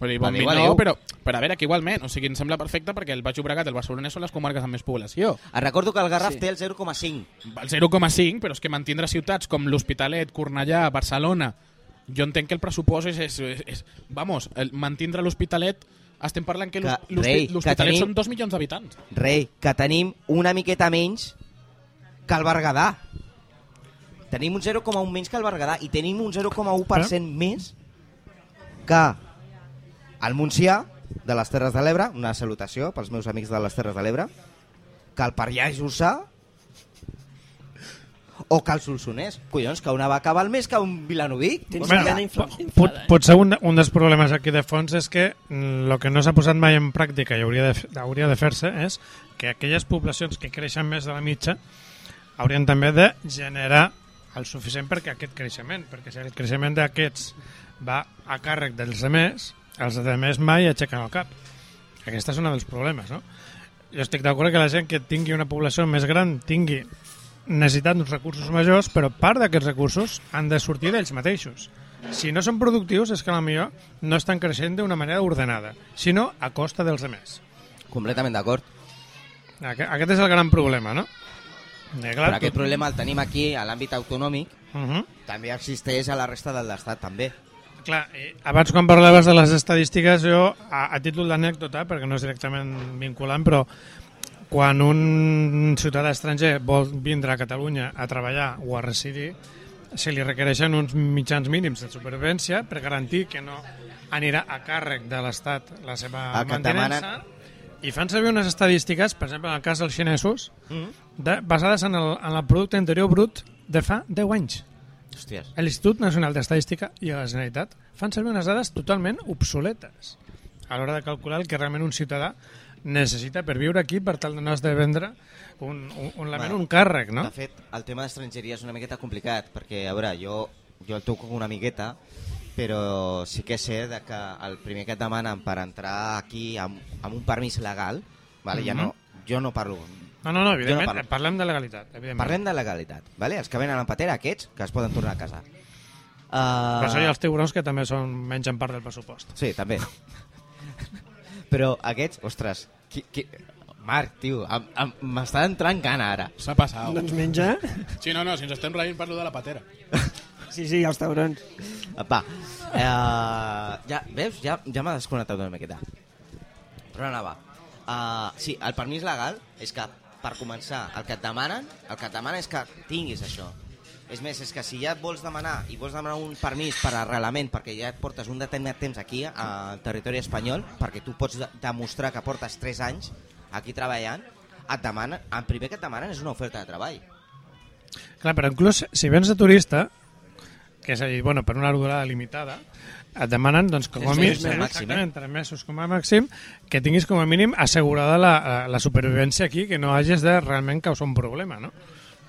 Però,
Va
bon
dir,
dir,
adéu.
no però, però a veure, que igualment, o sigui, em sembla perfecte perquè el Baix Llobregat i el Barcelonès són les comarques amb més població.
Et recordo que el Garraf
Sí.
sí. té el 0,5.
El 0,5, però és que mantindre ciutats com l'Hospitalet, Cornellà, Barcelona... Jo entenc que el pressupost és... és, és, és vamos, el, mantindre l'Hospitalet Estem parlant que,
Que,
l'hos-
rei,
l'hospi-
que
l'Hospitalet
tenim-
són dos milions d'habitants.
Rei, que tenim una miqueta menys que el Berguedà. Tenim un 0,1 menys que el Berguedà i tenim un 0,1% més que el Montsià de les Terres de l'Ebre, una salutació pels meus amics de les Terres de l'Ebre, que el Parrià i Jussà o que el Solsonès. Collons, que una vaca val més que un Vilanovic.
Tens
Bueno,
una infla...
Pot,
inflada. eh?
potser un, un dels problemes aquí de fons és que el que no s'ha posat mai en pràctica i hauria de, f- hauria de fer-se és que aquelles poblacions que creixen més de la mitja haurien també de generar el suficient perquè aquest creixement, perquè si el creixement d'aquests va a càrrec dels demés, els demés mai aixequen el cap. Aquest és un dels problemes, no? Jo estic d'acord que la gent que tingui una població més gran tingui necessitat d'uns recursos majors, però part d'aquests recursos han de sortir d'ells mateixos. Si no són productius, és que potser no estan creixent d'una manera ordenada, sinó a costa dels altres.
Completament d'acord.
Aquest és el gran problema, no? Eh,
Però
clar,
aquest problema el tenim aquí a l'àmbit autonòmic.
Uh -huh.
També existeix a la resta de l'estat, també.
Clar, i abans quan parlaves de les estadístiques, jo, a, a títol d'anècdota, perquè no és directament vinculant, però quan un ciutadà estranger vol vindre a Catalunya a treballar o a residir, se li requereixen uns mitjans mínims de supervivència per garantir que no anirà a càrrec de l'Estat la seva
El que et
mantenença.
demanen-
I fan servir unes estadístiques, per exemple, en el cas dels xinesos,
Mm.
de, basades en el, en el producte interior brut de fa 10 anys.
Hòsties.
L'Institut Nacional d'Estadística i la Generalitat fan servir unes dades totalment obsoletes a l'hora de calcular el que realment un ciutadà necessita per viure aquí per tal de no esdevendre un, un, un,
Bueno,
bueno, un càrrec, no?
De fet, el tema d'estrangeria és una miqueta complicat, perquè, a veure, jo, jo el toco una miqueta, però sí que sé de que el primer que et demanen per entrar aquí amb, amb un permís legal, vale? ja no,
Mhm.
jo no parlo...
No, no, no,
Jo no
evidentment,
parlo.
no parlem de legalitat. Evidentment.
Parlem de legalitat, vale? els que venen amb patera, aquests, que es poden tornar a casa. Uh...
Per això hi ha els tiburons que també són mengen part del pressupost.
Sí, també. <laughs> Però aquests, ostres, qui, qui... Marc, tio, em- em- m'està entrant gana ara.
S'ha passat.
Doncs menja.
Sí, no, no, si ens estem reint parlo de la patera.
Sí, sí, els taurons.
Va, eh, ja, veus? Ja, ja m'ha desconnectat una miqueta. Però anava. Uh, sí, el permís legal és que, per començar, el que et demanen, el que et demanen és que tinguis això. És més, és que si ja et vols demanar i vols demanar un permís per arrelament perquè ja et portes un determinat temps aquí, al territori espanyol, perquè tu pots de- demostrar que portes 3 anys aquí treballant, et demanen, el primer que et demanen és una oferta de treball.
Clar, però inclús si vens de turista, que és a dir, bueno, per una durada limitada, et demanen, doncs, com a
Tres
mínim,
mesos com a màxim,
exactament, tres mesos com a màxim, que tinguis com a mínim assegurada la, la supervivència aquí, que no hagis de realment causar un problema, no?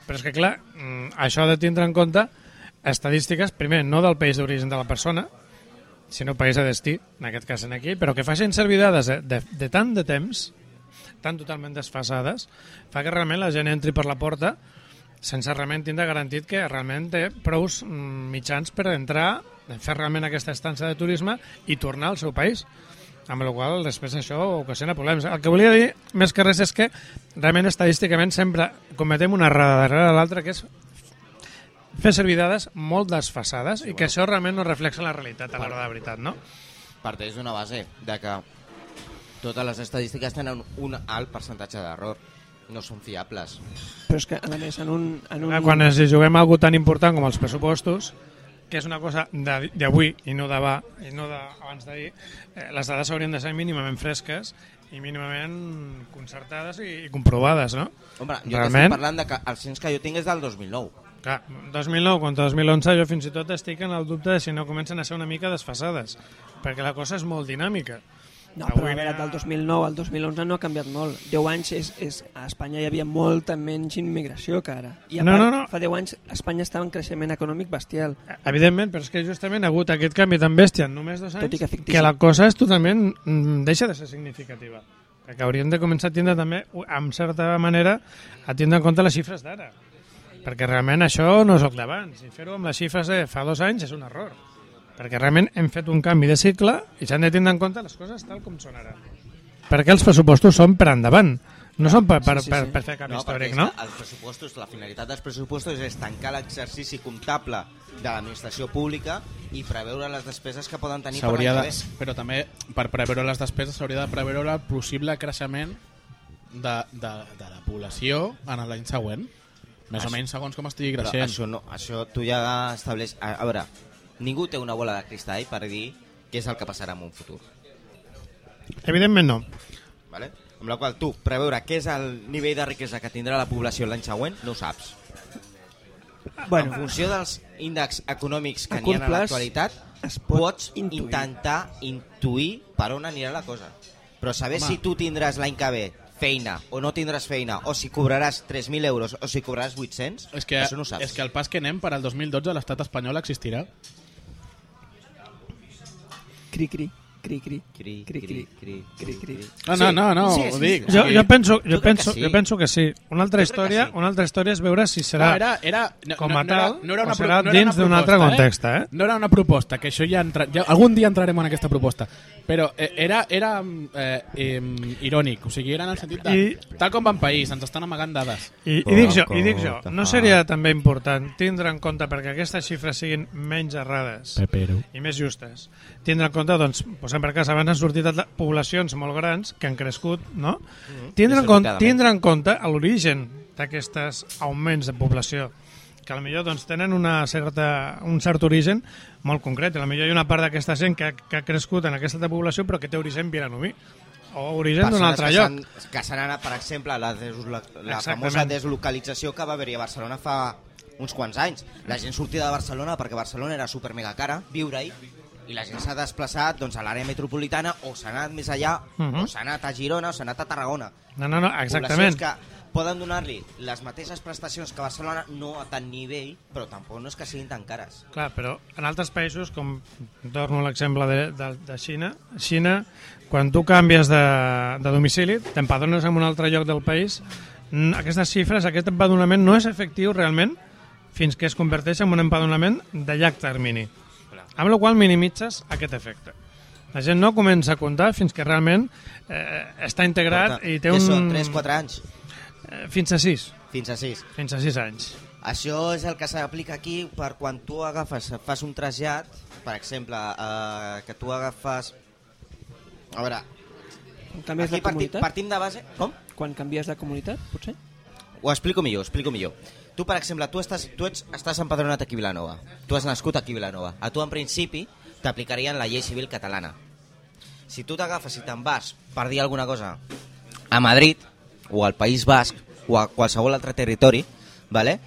Però és que, clar, mm, això ha de tindre en compte estadístiques, primer, no del país d'origen de la persona, sinó país de destí, en aquest cas en aquí, però que facin servir dades eh, de, de, de tant de temps, tan totalment desfasades, fa que realment la gent entri per la porta sense realment tindre garantit que realment té prous mm, mitjans per entrar, fer realment aquesta estança de turisme i tornar al seu país. Amb la qual cosa, després això ocasiona problemes. El que volia dir, més que res, és que realment estadísticament sempre cometem una errada darrere l'altra, que és fer servir dades molt desfasades i que això realment no reflexa la realitat a l'hora de la veritat, no?
parteix d'una base de que totes les estadístiques tenen un alt percentatge d'error no són fiables.
Però és que, a més, en un... En un...
Clar, Ah, Quan ens hi juguem algo tan important com els pressupostos, que és una cosa de- d'avui i no d'abà, i no d'abans d'ahir, eh, les dades haurien de ser mínimament fresques i mínimament concertades i, i comprovades, no?
Home, jo Realment?
Realment?
estic parlant de que el cens que jo tinc és del 2009.
Clar, 2009 contra 2011 jo fins i tot estic en el dubte de si no comencen a ser una mica desfasades, perquè la cosa és molt dinàmica.
No, però
Avui
a veure,
era-
del 2009 al 2011 no ha canviat molt. 10 anys és, és, a Espanya hi havia molta menys immigració que ara. I a
No,
part,
no, no.
fa 10 anys Espanya estava en creixement econòmic bestial.
Evidentment, però és que justament ha hagut aquest canvi tan bèstia en només dos anys
Tot i que fictici.
la cosa és totalment mm, deixa de ser significativa. Perquè hauríem de començar a tindre també, u- amb certa manera, a tindre en compte les xifres d'ara. Perquè realment això no és el d'abans. I fer-ho amb les xifres de fa dos anys és un error. Perquè realment hem fet un canvi de cicle i s'han de tindre en compte les coses tal com són ara. Perquè els pressupostos són per endavant. No són per, per,
Sí, sí,
per,
sí.
per fer cap
No, perquè
històric,
és
no?
que Els pressupostos, la finalitat dels pressupostos és tancar l'exercici comptable de l'administració pública i preveure les despeses que poden tenir per l'any
S'hauria
que
de...
ve.
Però també, per preveure les despeses, s'hauria de preveure el possible creixement de, de, de la població en l'any següent. Més o
Això-
menys segons com estigui
Però
creixent.
això, no, això tu ja estableix... A, a veure, ningú té una bola de cristall per dir què és el que passarà en un futur.
Evidentment no.
Vale? Amb la qual tu preveure què és el nivell de riquesa que tindrà la població l'any següent no ho saps. En
Ah,
Bueno,
funció dels índexs econòmics que
A
n'hi ha
curt
a
plaç
l'actualitat,
es pot
pots
intuir.
intentar intuir per on anirà la cosa. Però saber
Home.
si tu tindràs l'any que ve feina o no tindràs feina, o si cobraràs 3.000 euros o si cobraràs 800,
És que,
això no ho saps.
és que el pas que anem per al 2012 l'estat espanyol existirà.
ah.
cri, cri, cri, cri.
Cri,
Cri,
cri, cri, cri, cri.
No, no, no, no,
Sí,
ho
sí,
dic.
sí.
Jo, jo, penso,
Jo
jo,
crec que
penso,
sí.
jo penso que sí. Una
Jo crec
altra,
que
història,
sí.
una altra història és veure si serà...
No, era, era, no,
com
no,
a
no era-
tal,
no era una
o serà
pro- no era una
dins d'un altre
proposta,
context, eh?
No era una proposta, que això ja, entra, ja algun dia entrarem en aquesta proposta, però eh, era, era mm, eh, eh, irònic, o sigui, era en el sentit de...
I-
Tal com van país, ens estan amagant dades.
I, i, dic jo, I dic jo, no seria també important tindre en compte, perquè aquestes xifres siguin menys errades
Pepero.
i més justes, tindre en compte, doncs, posem per cas, abans han sortit atla- poblacions molt grans que han crescut, no?
Mm-hmm.
Tindre en compte,
Desorbigadament.
tindre en compte l'origen d'aquestes augments de població que potser doncs, tenen una certa, un cert origen molt concret. Potser hi ha una part d'aquesta gent que, que ha crescut en aquesta població però que té origen vilanomí o origen d'un
Persones
altre
que
lloc.
s'han- Que s'han anat, per exemple, la, deslo la
Exactament.
famosa deslocalització que va haver-hi a Barcelona fa uns quants anys. La gent sortia de Barcelona perquè Barcelona era super mega cara viure-hi i la gent s'ha desplaçat doncs, a l'àrea metropolitana o s'ha anat més allà,
Mhm.
o s'ha anat a Girona o s'ha anat a Tarragona.
No, no, no, exactament.
Poblacions que poden donar-li les mateixes prestacions que Barcelona, no a tant nivell, però tampoc no és que siguin tan cares.
Clar, però en altres països, com torno a l'exemple de, de, de Xina, Xina, quan tu canvies de, de domicili, t'empadrones en un altre lloc del país, n- aquestes xifres, aquest empadronament no és efectiu realment fins que es converteix en un empadronament de llarg termini. Amb la qual cosa minimitzes aquest efecte. La gent no comença a comptar fins que realment eh, està integrat
Porta-
i té
que són
un...
3-4 anys,
eh, Fins a 6.
fins a 6.
Fins a 6 anys.
Això és el que s'aplica aquí per quan tu agafes, fas un trasllat, per exemple, eh, que tu agafes... A veure,
Quan canvies
aquí
de
partim,
comunitat?
partim de base... Com?
Quan canvies de comunitat, potser?
Ho explico millor, ho explico millor. Tu, per exemple, tu estàs, tu ets, estàs empadronat aquí a Vilanova. Tu has nascut aquí a Vilanova. A tu, en principi, t'aplicarien la llei civil catalana. Si tu t'agafes i te'n vas per dir alguna cosa a Madrid, o al País Basc, o a qualsevol altre territori, vale?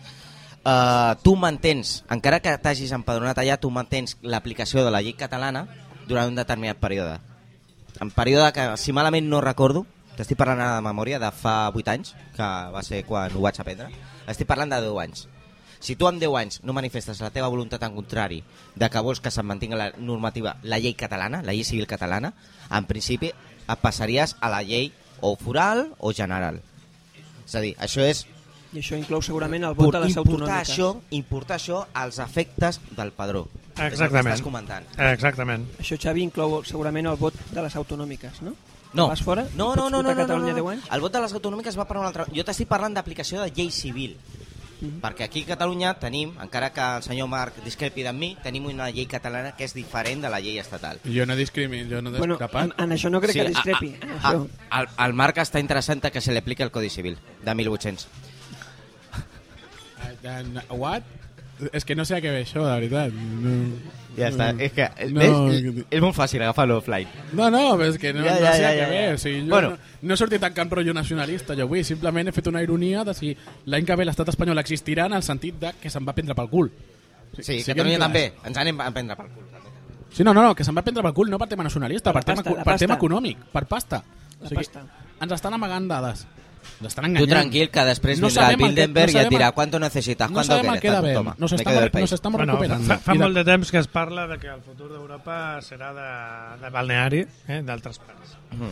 Uh, tu mantens, encara que t'hagis empadronat allà, tu mantens l'aplicació de la llei catalana durant un determinat període. En període que, si malament no recordo, t'estic parlant ara de memòria de fa 8 anys, que va ser quan ho vaig aprendre, estic parlant de 10 anys. Si tu amb 10 anys no manifestes la teva voluntat en contrari de que vols que se'n mantingui la normativa, la llei catalana, la llei civil catalana, en principi et passaries a la llei o foral o general. És a dir, això és
I això inclou segurament el vot a les
importar
autonòmiques.
això, importar això als efectes del padró. És el que
Exactament.
Estàs comentant.
Eh, Exactament.
Això, Xavi, inclou segurament el vot de les autonòmiques, no?
No.
Vas fora?
No,
Pots
no, no,
votar
no,
a
no,
Catalunya
no, no.
10 anys?
El vot de les autonòmiques va per un altre... Jo t'estic parlant d'aplicació de llei civil.
Mhm.
Perquè aquí a Catalunya tenim, encara que el senyor Marc discrepi de mi, tenim una llei catalana que és diferent de la llei estatal.
Jo no discrimino, jo no he
Bueno, en,
discrepat.
en això no crec que discrepi. en
A, a,
això.
a, el, el Marc està interessant que se li apliqui el Codi Civil de 1800.
Eh, En... What? És que no sé a què ve això, de veritat. No,
Mm.
No,
eh, és molt fàcil agafar-lo offline.
no, no, però és que no,
Ja,
no
ja,
sé
ja,
a què
ja,
ve.
ja.
O sigui, jo
Bueno.
no, no he sortit en cap rotllo nacionalista, jo avui. Simplement he fet una ironia de si l'any que ve l'estat espanyol existirà en el sentit de que se'n va prendre pel cul.
Sí,
siguem
Catalunya
clars.
també. Ens anem a prendre pel cul.
Sí, no, no, no, que se'n va prendre pel cul, no per tema nacionalista, per,
Per
tema,
pasta,
cu-
la
per
pasta.
tema econòmic, per pasta.
La pasta.
Ens estan amagant dades. Ens estan
Tu
enganyant.
tranquil, que després
No
vindrà el
sabem el que- no
Bildenberg i et
sabem
dirà
el-
¿cuánto necesitas?
No
¿Cuándo
sabem a
quieres?
què
Tanto,
devem.
toma,
Nos
me quedo del
estamos,
país.
nos estamos
Bueno,
recuperant.
fa, fa
I de-
molt de temps que es parla de que el futur d'Europa serà de, de balneari eh, d'altres parts.
Mhm.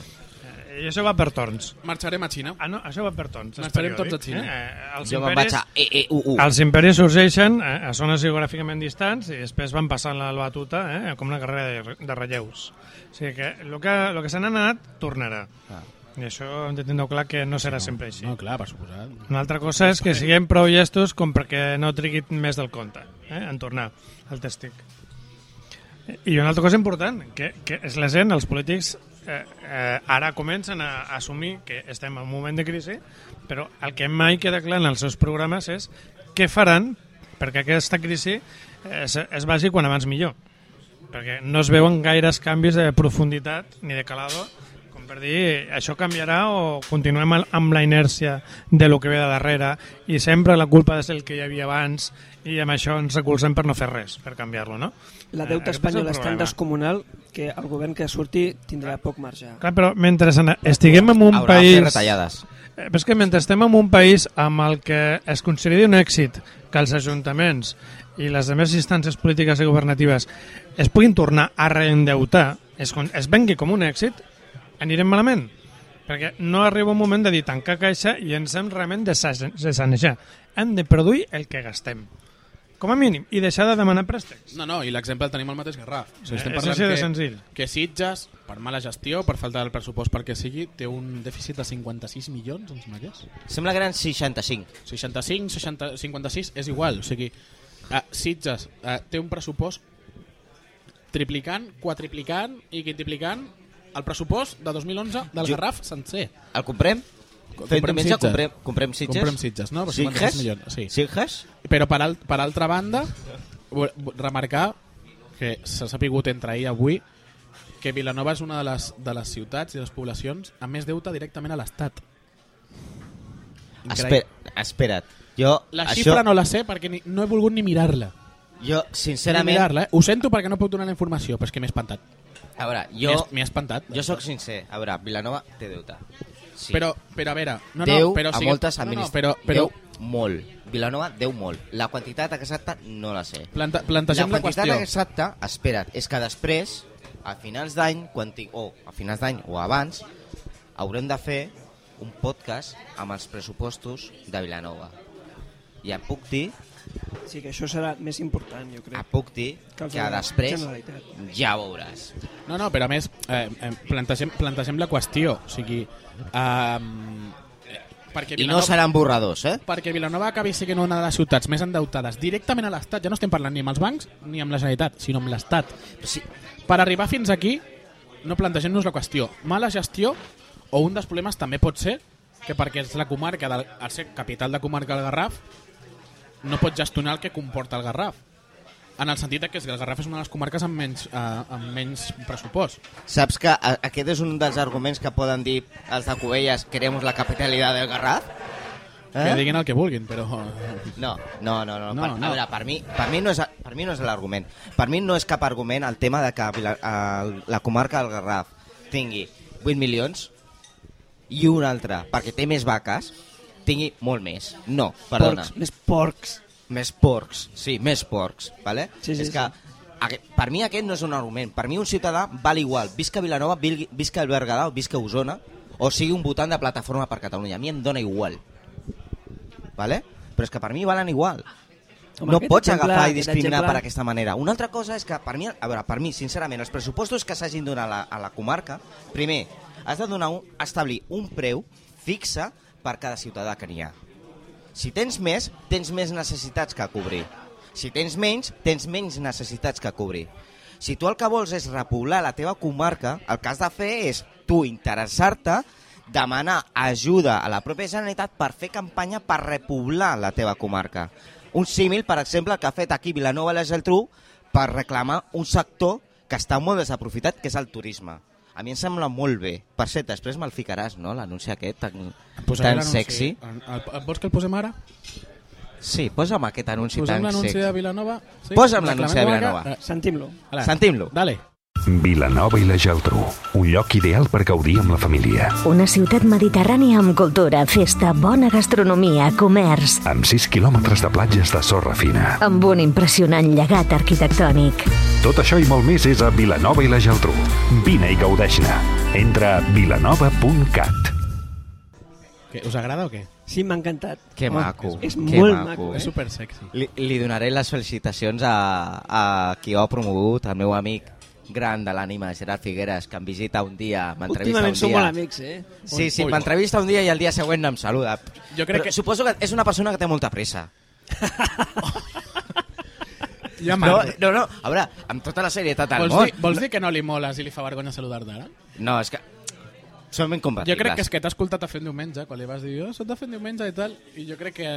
Eh, I això va per torns.
Marxarem a Xina.
Ah, no, això va per torns. és
Marxarem
periòdic,
tots a Xina.
Eh? Eh, Els,
Jo me'n
imperis,
vaig a E EEUU.
els imperis sorgeixen eh, a zones geogràficament distants i després van passant la batuta eh, com una carrera de, de relleus. O sigui que el que, el que se n'ha anat tornarà.
Ah.
I això hem de tenir clar que no serà sempre així.
No, clar, per suposar.
Una altra cosa és que siguem prou llestos com perquè no triguin més del compte eh? en tornar al testic. I una altra cosa important, que, que és la gent, els polítics, eh, eh, ara comencen a, a assumir que estem en un moment de crisi, però el que mai queda clar en els seus programes és què faran perquè aquesta crisi eh, es, es vagi quan abans millor. Perquè no es veuen gaires canvis de profunditat ni de calado com per dir, això canviarà o continuem al- amb la inèrcia de lo que ve de darrere i sempre la culpa és el que hi havia abans i amb això ens recolzem per no fer res, per canviar-lo, no?
La
Eh,
deuta
aquest és el
espanyola és tan
problema.
descomunal que el govern que surti tindrà poc marge.
Clar, però mentre en- estiguem en un
Haurà de fer
país...
retallades.
Eh, Però és que mentre estem en un país amb el que es consideri un èxit que els ajuntaments i les altres instàncies polítiques i governatives es puguin tornar a reendeutar, es, con- es vengui com un èxit, anirem malament. Perquè no arriba un moment de dir tancar caixa i ens hem realment de sa- de sanejar. Hem de produir el que gastem. Com a mínim. I deixar de demanar préstecs.
No, no, i l'exemple el tenim al mateix Garraf. O sigui, estem
Eh, és
parlant
així de
que-
senzill.
que Sitges, per mala gestió, per falta del pressupost perquè sigui, té un dèficit de 56 milions, ens mateix.
Sembla que eren 65.
65, 60, 56, és igual. O sigui, uh, Sitges uh, té un pressupost triplicant, quadriplicant i quintiplicant el pressupost de 2011 del
Jo-
Garraf sencer.
El comprem? Fem diumenge,
Sitges.
comprem, comprem Sitges?
Comprem Sitges, no? Per 56
Sitges?
milions, sí.
Sitges?
Però per, al, per altra banda, vo- vo- remarcar que s'ha sapigut entre ahir i avui que Vilanova és una de les, de les ciutats i les poblacions amb més deute directament a l'Estat. Increïble.
Esper, espera't. Jo,
La
això,
xifra no la sé perquè ni, no he volgut ni mirar-la.
jo
Ni
sincerament...
mirar-la, eh? Ho sento perquè no puc donar la informació, però és que m'he espantat.
A veure,
M'he
jo,
es- M'he espantat.
jo sóc sincer. A veure, Vilanova té deute. Sí.
Però, però a veure... No,
deu
no, però
a
sí,
moltes
no, no,
administracions.
però, però
Deu molt. Vilanova deu molt. La quantitat exacta no la sé.
planta,
La
plantegem la,
quantitat
qüestió.
exacta, espera't, és que després, a finals d'any, quan ti- o a finals d'any o abans, haurem de fer un podcast amb els pressupostos de Vilanova. I et puc dir,
Sí que això serà més important, jo
et
crec.
puc dir
Que els
que
de la
després
Generalitat.
ja ho veuràs.
No, no, però a més, eh, eh, plantegem, plantegem la qüestió. O sigui, ehm, eh, perquè
I no
Vilanova,
seran borradors, eh?
perquè Vilanova acabi sent una de les ciutats més endeutades directament a l'Estat, ja no estem parlant ni amb els bancs ni amb la Generalitat, sinó amb l'Estat.
Sí,
Per arribar fins aquí, no plantegem-nos la qüestió. Mala gestió o un dels problemes també pot ser que perquè és la comarca, del, al ser capital de comarca del Garraf, no pot gestionar el que comporta el Garraf. En el sentit de que és que el Garraf és una de les comarques amb menys, eh, amb menys pressupost.
saps que a- aquest és un dels arguments que poden dir els de Cubelles, queremos la capitalidad del Garraf?
Eh? Que diguin el que vulguin, però... eh,
No, no, no, no.
No,
per,
no.
A veure, per mi, per mi no és, per mi no és l'argument. Per mi no és cap argument el tema de que Vila, eh, la comarca del Garraf tingui 8 milions i un altre, perquè té més vaques, tingui molt més. No, perdona.
Porcs, més porcs.
Més porcs, sí, més porcs, vale?
Sí, sí,
és que aque- per mi aquest no és un argument. Per mi un ciutadà val igual, visca Vilanova, vil- visca el Berguedà o visca Osona, o sigui un votant de Plataforma per Catalunya. A mi em dona igual. Vale? Però és que per mi valen igual.
Home,
no
aquest
pots
exemple-
agafar i
aquest
discriminar
exemple-
per aquesta manera. Una altra cosa és que, per mi, a veure, per mi, sincerament, els pressupostos que s'hagin donat a la, a la comarca, primer, has de donar un, establir un preu fixe per cada ciutadà que n'hi ha. Si tens més, tens més necessitats que cobrir. Si tens menys, tens menys necessitats que cobrir. Si tu el que vols és repoblar la teva comarca, el que has de fer és tu interessar-te, demanar ajuda a la pròpia Generalitat per fer campanya per repoblar la teva comarca. Un símil, per exemple, que ha fet aquí Vilanova i la Geltrú per reclamar un sector que està molt desaprofitat, que és el turisme. A mi em sembla molt bé. Per cert, després me'l ficaràs, no?, l'anunci aquest tan, tan sexy.
El, el, el, vols que el posem ara?
Sí, posa'm aquest anunci
posem
tan
l'anunci
sexy.
de Vilanova? Sí?
Posa'm l'anunci de Vilanova.
Sentim-lo.
Ara.
Sentim-lo.
Eh, Dale.
Vilanova i la Geltrú, un lloc ideal per gaudir amb la família.
Una ciutat mediterrània amb cultura, festa, bona gastronomia, comerç,
Amb 6 quilòmetres de platges de sorra fina.
amb un impressionant llegat arquitectònic.
Tot això i molt més és a Vilanova i la Geltrú. Vine i gaudeix-ne. Entra a vilanova.cat.
Que, us agrada o què?
Sí, m'ha encantat.
Que
Oh,
maco.
és- és
que
molt
maco. eh?
maco, eh?
És super sexy.
Li, li donaré les felicitacions a, a qui ho ha promogut, el meu amic gran de l'ànima de Gerard Figueres, que em visita un dia, m'entrevista un
Últimament
dia...
som molt amics, eh?
Sí, sí,
Ui,
m'entrevista un dia i el dia següent em saluda.
Jo crec
Però
que-
Suposo que és una persona que té molta pressa.
Ja
No,
m'arro.
no, no, a veure, amb tota la serietat del
vols,
món...
dir, vols dir que no li moles i li fa vergonya saludar-te ara?
No, és que... Som incompatibles.
Jo crec que és que t'ha escoltat a fent diumenge, quan li vas dir, oh, soc de fent diumenge i tal, i jo crec que ha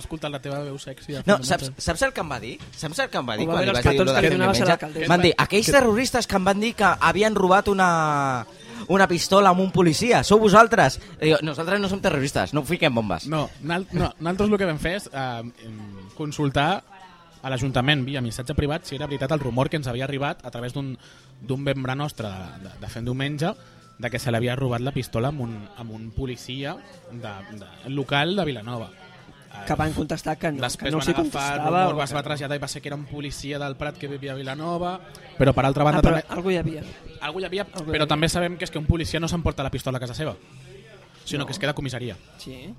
escoltat la teva veu sexy. a Fent
No,
Diumenge.
saps, saps el que em va dir? Saps el que em va dir
Ho va
quan
veure
li
els
vas dir
cartons
lo de
que li
fer
donaves a la
diumenge?
alcaldessa.
Van dir, aquells terroristes que em van dir que havien robat una, una pistola amb un policia, sou vosaltres. I jo, nosaltres no som terroristes, no fiquem bombes.
No, nal, no, nosaltres el que vam fer és eh, em, consultar a l'Ajuntament via missatge privat si era veritat el rumor que ens havia arribat a través d'un d'un membre nostre de, de, de fent diumenge de que se l'havia robat la pistola amb un, amb un policia de, de, local de Vilanova. Eh,
Que van contestar que no, que
Després
no
van
s'hi
agafar, el
contestava.
rumor es va traslladar i va ser que era un policia del Prat que vivia a Vilanova, però per altra
Ah,
banda
però Ah,
també...
algú hi havia.
Algú hi havia,
Algú hi
però
havia.
també sabem que és que un policia no s'emporta la pistola a casa seva, sinó que es queda a comissaria.
Sí.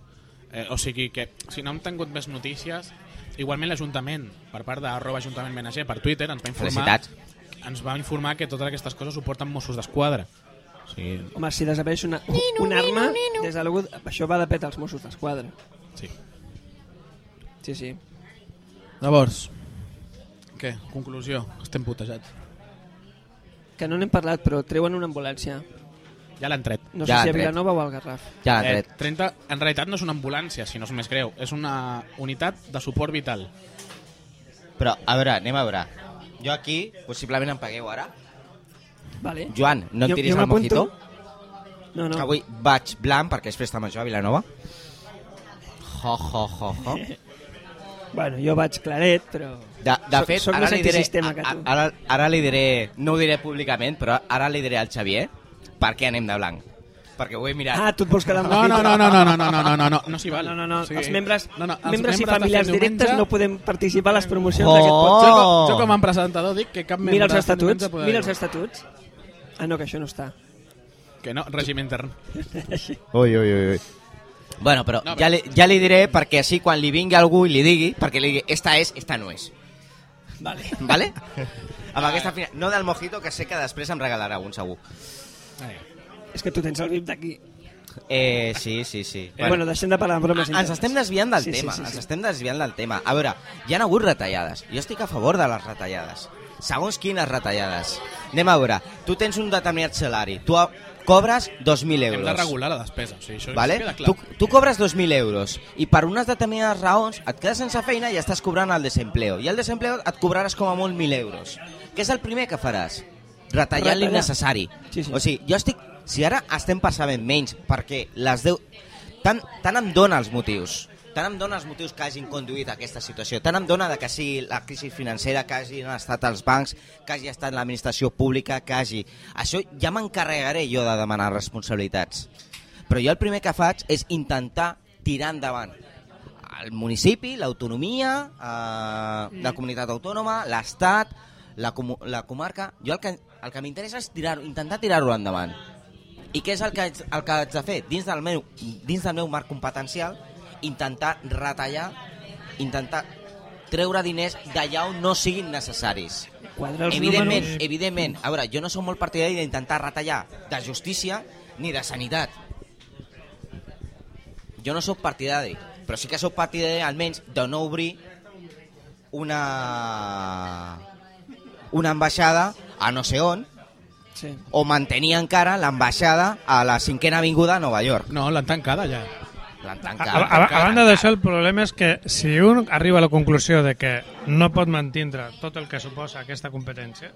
Eh, o sigui que, si no hem tingut més notícies, igualment l'Ajuntament, per part d'arroba Ajuntament Menager, per Twitter, ens va informar,
Felicitats.
ens va informar que totes aquestes coses ho porten Mossos d'Esquadra. O sigui,
Home, si desapareix una, un arma, des de l'algú... Això va de pet als Mossos d'Esquadra.
sí.
Sí, sí.
Llavors, què? Conclusió, estem putejats.
Que no n'hem parlat, però treuen una ambulància.
Ja l'han tret.
No
Ja
sé si a
han tret.
Vilanova o al Garraf.
Ja l'han
Eh,
tret.
30, en realitat no és una ambulància, si no és més greu. És una unitat de suport vital.
Però, a veure, anem a veure. Jo aquí, possiblement em pagueu ara.
Vale.
Joan, no et
Jo-
tiris
jo
el
m'apunto.
mojito?
No, no.
Que avui vaig blanc perquè és festa major a Vilanova. Jo, jo, jo, jo.
Bueno, jo vaig claret, però...
De, de
Soc-
fet,
soc
ara
més
li, diré,
antisistema que
a-
tu.
ara, ara li diré, no ho diré públicament, però ara li diré al Xavier per què anem de blanc. Perquè ho he mirat.
Ah, tu et vols quedar amb
No, no, no, no, no, no, no, no, no, no, no, no s'hi val.
No, no, no.
O sigui,
Els membres,
no, no, els
membres i
de
familiars
Fem
directes
Diumenge-
no podem participar a les promocions
Oh!
d'aquest podcast.
Jo,
Oh.
jo com a presentador dic que cap membre...
Mira els
de Fem
estatuts,
Diumenge podrà
mira els
dir-ho.
estatuts. Ah, no, que això no està.
Que no, règim intern.
Ah.
Ui, ui, ui, ui. Bueno, però,
No, però-
Ja, li, ja li diré perquè així quan li vingui algú i li digui, perquè li digui, esta és, esta no és.
Vale.
Vale? Amb
Ah.
aquesta final... No del mojito, que sé que després em regalarà un, segur.
És que tu tens el VIP d'aquí.
Eh, sí, sí, sí.
Bueno, bueno, deixem de parlar de
Ah,
bromes.
ens estem desviant del sí, tema, sí, sí, sí. ens estem desviant del tema. A veure, hi han hagut retallades. Jo estic a favor de les retallades. Segons quines retallades. Anem a veure, tu tens un determinat salari, tu a- cobres 2.000
Hem de
euros.
regular la despesa, o sigui, això
Vale?
ens queda clar.
Tu, tu cobres 2.000 euros i per unes determinades raons et quedes sense feina i estàs cobrant el desempleo. I el desempleo et cobraràs com a molt 1.000 euros. Què és el primer que faràs? Retallar
Retallar.
l'innecessari.
Sí, sí.
O sigui, jo estic... Si ara estem passant menys perquè les 10... Tant, tant em dona els motius tant em dona els motius que hagin conduït a aquesta situació, tant em dona de que sigui la crisi financera, que hagin estat els bancs, que hagi estat l'administració pública, que hagi... Això ja m'encarregaré jo de demanar responsabilitats. Però jo el primer que faig és intentar tirar endavant el municipi, l'autonomia, eh, la comunitat autònoma, l'Estat, la, comu la comarca... Jo el que, el que m'interessa és tirar intentar tirar-ho endavant. I què és el que, haig- el que haig de fer? Dins del, meu, dins del meu marc competencial, intentar retallar, intentar treure diners d'allà on no siguin necessaris.
Quadra els
evidentment,
números.
evidentment. A veure, jo no som molt partidari d'intentar retallar de justícia ni de sanitat. Jo no sóc partidari, però sí que sóc partidari almenys de no obrir una una ambaixada a no sé on
Sí.
o mantenir encara l'ambaixada a la cinquena avinguda a Nova York.
No, l'han tancada ja.
L'han
A,
tancat.
a, a, a banda d'això, el problema és que si un arriba a la conclusió de que no pot mantindre tot el que suposa aquesta competència,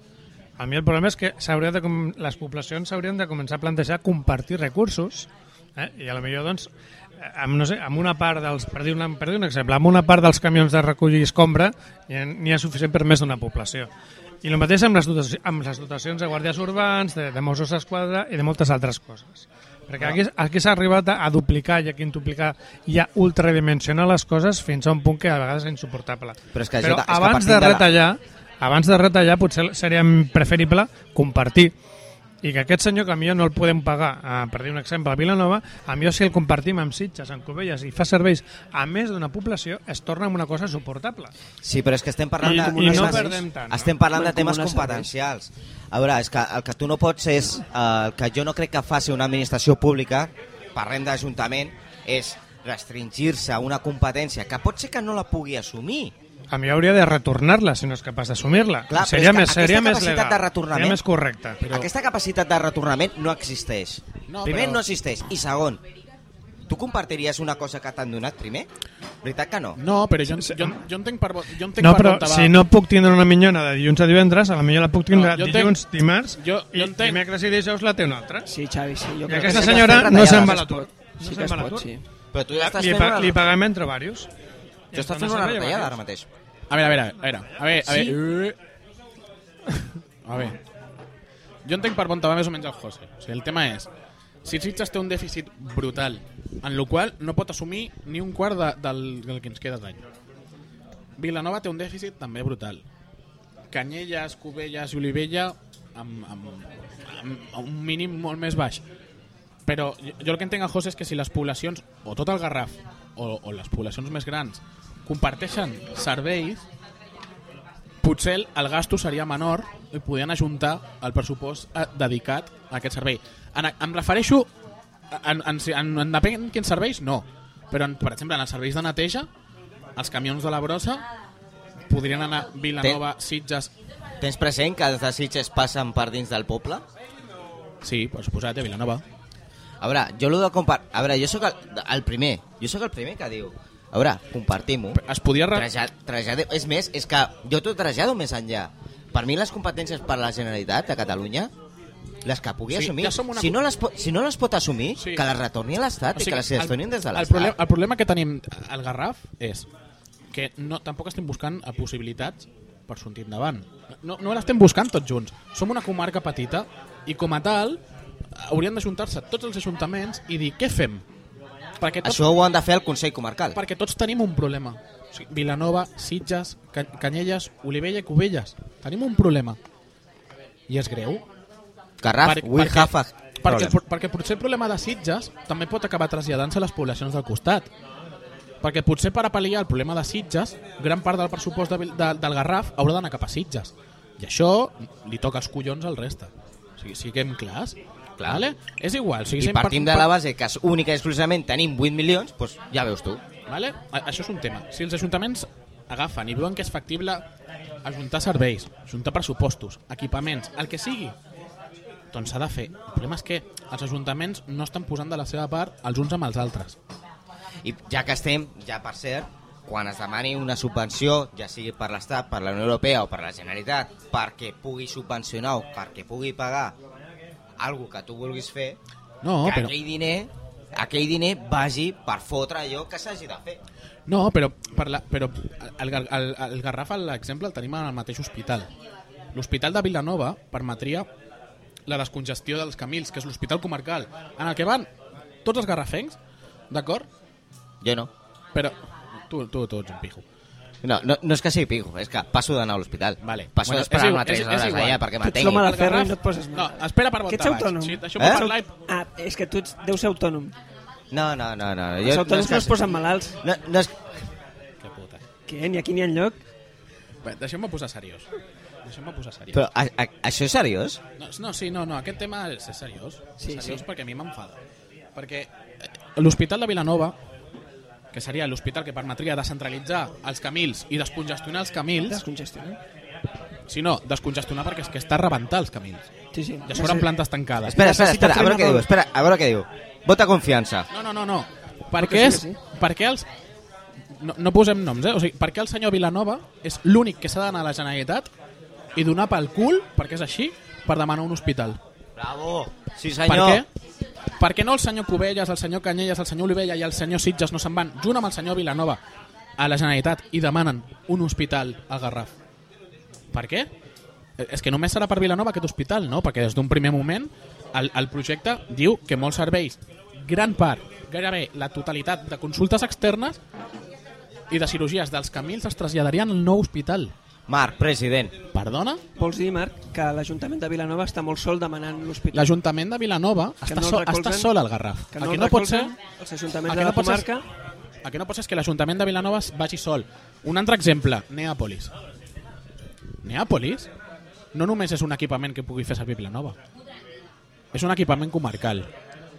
a mi el problema és que s'hauria de, com- les poblacions s'haurien de començar a plantejar compartir recursos eh? i a lo millor doncs eh, amb, no sé, amb una part dels per dir, un, per dir un exemple, amb una part dels camions de recollir escombra n'hi ha- n'hi ha suficient per més d'una població i el mateix amb les, dotaci- amb les dotacions de guàrdies urbans, de, de Mossos d'Esquadra i de moltes altres coses. Perquè aquí, aquí s'ha arribat a, a duplicar i a quintuplicar i a ultradimensionar les coses fins a un punt que a vegades és insuportable.
Però és que,
Però
Jota, és que
abans
partim
de
de la-
retallar, abans de retallar potser seria preferible compartir i que aquest senyor que a millor no el podem pagar eh, per dir un exemple a Vilanova a millor si el compartim amb Sitges, amb Covelles i fa serveis a més d'una població es torna una cosa suportable
Sí, però és que estem parlant
I-
de...
i no perdem tant, no?
Estem parlant de
Mancomunar
temes
serveis.
competencials. A veure, és que el que tu no pots és... eh, El que jo no crec que faci una administració pública, parlem d'Ajuntament, és restringir-se a una competència que pot ser que no la pugui assumir.
A mi hauria de retornar-la, si no és capaç d'assumir-la.
Clar, però
Seria,
és que
més, seria
aquesta
més
capacitat
legal,
de retornament-
seria més correcta.
Però... Aquesta capacitat de retornament no existeix.
No,
No, primer,
però-
no existeix. I segon, tu compartiries una cosa que t'han donat primer? Veritat que no?
No, però jo, jo, jo entenc per... bo- Jo entenc
No,
per
però
on te va.
si no puc tindre una minyona de dilluns a divendres, a la millor la puc tindre
No, jo
no, dilluns,
entenc-
dimarts,
jo- jo
i
entenc-
dimecres i dijous la té una altra.
Sí, Xavi, sí. Jo
I
crec
aquesta
que sí que
senyora
es pot
no
retallar,
se'n va
es
a l'atur.
pot.
No
Sí
se'n
que es
va a
pot,
l'atur.
sí.
Però tu ja estàs
Li,
fent
pa
una...
li paguem entre diversos. Tota
Jo estàs fent una retallada ara mateix.
A veure, a veure, a veure, a veure, a veure... A veure. Jo entenc per on te va més o menys el José. O sigui, el tema és, si Sitges té un dèficit brutal, en la qual no pot assumir ni un quart de, del, del que ens queda d'any. Vilanova té un dèficit també brutal. Canyelles, Cubelles i Olivella amb, amb, amb un mínim molt més baix. Però jo jo el que entenc a José és que si les poblacions, o tot el Garraf, o, o les poblacions més grans, comparteixen serveis, potser el- el gasto seria menor i podien ajuntar el pressupost eh, dedicat a aquest servei. En, em refereixo en, en, si- en, en depèn quins serveis, no. Però, en, per exemple, en els serveis de neteja, els camions de la brossa podrien anar a Vilanova, Sitges...
Tens present que els de Sitges passen per dins del poble?
Sí, per suposat, a Vilanova.
A veure, jo l'ho de compartir... A veure, jo sóc el, el primer. Jo sóc el primer que diu... A veure, compartim-ho.
Es podia... Re...
Traja, trajade... És més, és que jo t'ho trajado més enllà. Per mi les competències per la Generalitat de Catalunya les que pugui
Sí,
assumir.
ja som una-
si, no les pot, si no les pot assumir,
Sí.
que les retorni a l'Estat i que les
el-
gestionin des de
el, problema,
l'Estat.
el problema que tenim al Garraf és que no, tampoc estem buscant eh, possibilitats per sortir endavant. No, no l'estem buscant tots junts. Som una comarca petita i com a tal haurien d'ajuntar-se tots els ajuntaments i dir què fem? Perquè tots,
Això ho han de fer el Consell Comarcal.
perquè tots tenim un problema. O sigui, Vilanova, Sitges, Can Canyelles, Olivella i Cubelles. Tenim un problema. I és greu.
Garraf,
Per-
we
perquè-
have a
Perquè,
problem.
perquè potser el problema de Sitges també pot acabar traslladant-se a les poblacions del costat. Perquè potser per apel·liar el problema de Sitges, gran part del pressupost de, Vil- de, del Garraf haurà d'anar cap a Sitges. I això li toca els collons al resta. O sigui, siguem clars. Clar. Vale? És igual. O sigui,
I
sempre-
partim de la base que és única i exclusivament tenim 8 milions, doncs ja veus tu.
Vale? A- Això és un tema. Si els ajuntaments agafen i veuen que és factible ajuntar serveis, ajuntar pressupostos, equipaments, el que sigui, doncs s'ha de fer. El problema és que els ajuntaments no estan posant de la seva part els uns amb els altres.
I ja que estem, ja per cert, quan es demani una subvenció, ja sigui per l'Estat, per la Unió Europea o per la Generalitat, perquè pugui subvencionar o perquè pugui pagar algo que tu vulguis fer,
No,
que
però,
aquell diner aquell diner vagi per fotre allò que s'hagi de fer.
no, però, per la, però el, Gar- el, el Garraf, l'exemple, el tenim en el mateix hospital. L'Hospital de Vilanova permetria la descongestió dels Camils, que és l'hospital comarcal, en el que van tots els garrafencs, d'acord?
Jo no.
Però tu, tu, tu ets un pijo.
No, no, no és que sigui pijo, és que passo d'anar a l'hospital.
Vale.
Passo
Bueno,
d'esperar
és
una
igual,
3
és- és
hores
igual.
allà perquè
Tu ets
m'atengui.
l'home
El
de ferro
Garraf-
i no et poses
No,
malalt.
espera per
Que
voltar
ets autònom.
baix. Sí, això
Eh?
eh? parlar i...
Ah, és que tu ets, deu ser autònom.
No, no, no. no. jo-
Els autònoms
és
no
que-
es posen malalts.
No, no és...
Que puta.
Què? Ni aquí ni enlloc.
Bé, Deixeu-me posar seriós. Deixeu-me posar seriós.
Però a, a, això és seriós?
No, no, sí, no, no, aquest tema és és seriós.
Sí,
Sí, seriós
sí.
perquè a mi m'enfada. Perquè eh, l'Hospital de Vilanova, que seria l'hospital que permetria descentralitzar els camils i descongestionar els camils,
Descongestiona.
si no, descongestionar perquè és que està a rebentar els camils.
Sí, sí.
I a sobre en plantes tancades.
Espera, espera,
Necessita
espera, a veure què
frenador.
diu, espera, a veure què diu. Vota confiança.
No, no, no, no.
que
Perquè, és,
sí, que
perquè els... No, no posem noms, eh? O sigui, perquè el senyor Vilanova és l'únic que s'ha d'anar a la Generalitat i donar pel cul, perquè és així, per demanar un hospital.
Bravo. Sí,
Per què? Perquè no el senyor Cubelles, el senyor Canyelles, el senyor Olivella i el senyor Sitges no se'n van, junt amb el senyor Vilanova, a la Generalitat i demanen un hospital al Garraf. Per què? Eh, És que només serà per Vilanova aquest hospital, no? Perquè des d'un primer moment el, el projecte diu que molts serveis, gran part, gairebé la totalitat de consultes externes i de cirurgies dels camins es traslladarien al nou hospital.
Marc, president.
Perdona?
Vols dir, Marc, que l'Ajuntament de Vilanova està molt sol demanant l'hospital?
L'Ajuntament de Vilanova està,
no el
no sol,
recolzen,
està sol al Garraf.
Que no,
el que
el
no pot ser...
recolzen Els ajuntaments
el
de
que
la
no pot ser és-
comarca...
El que no pot ser és que l'Ajuntament de Vilanova es vagi sol. Un altre exemple, Neàpolis. Neàpolis no només és un equipament que pugui fer servir Vilanova. És un equipament comarcal.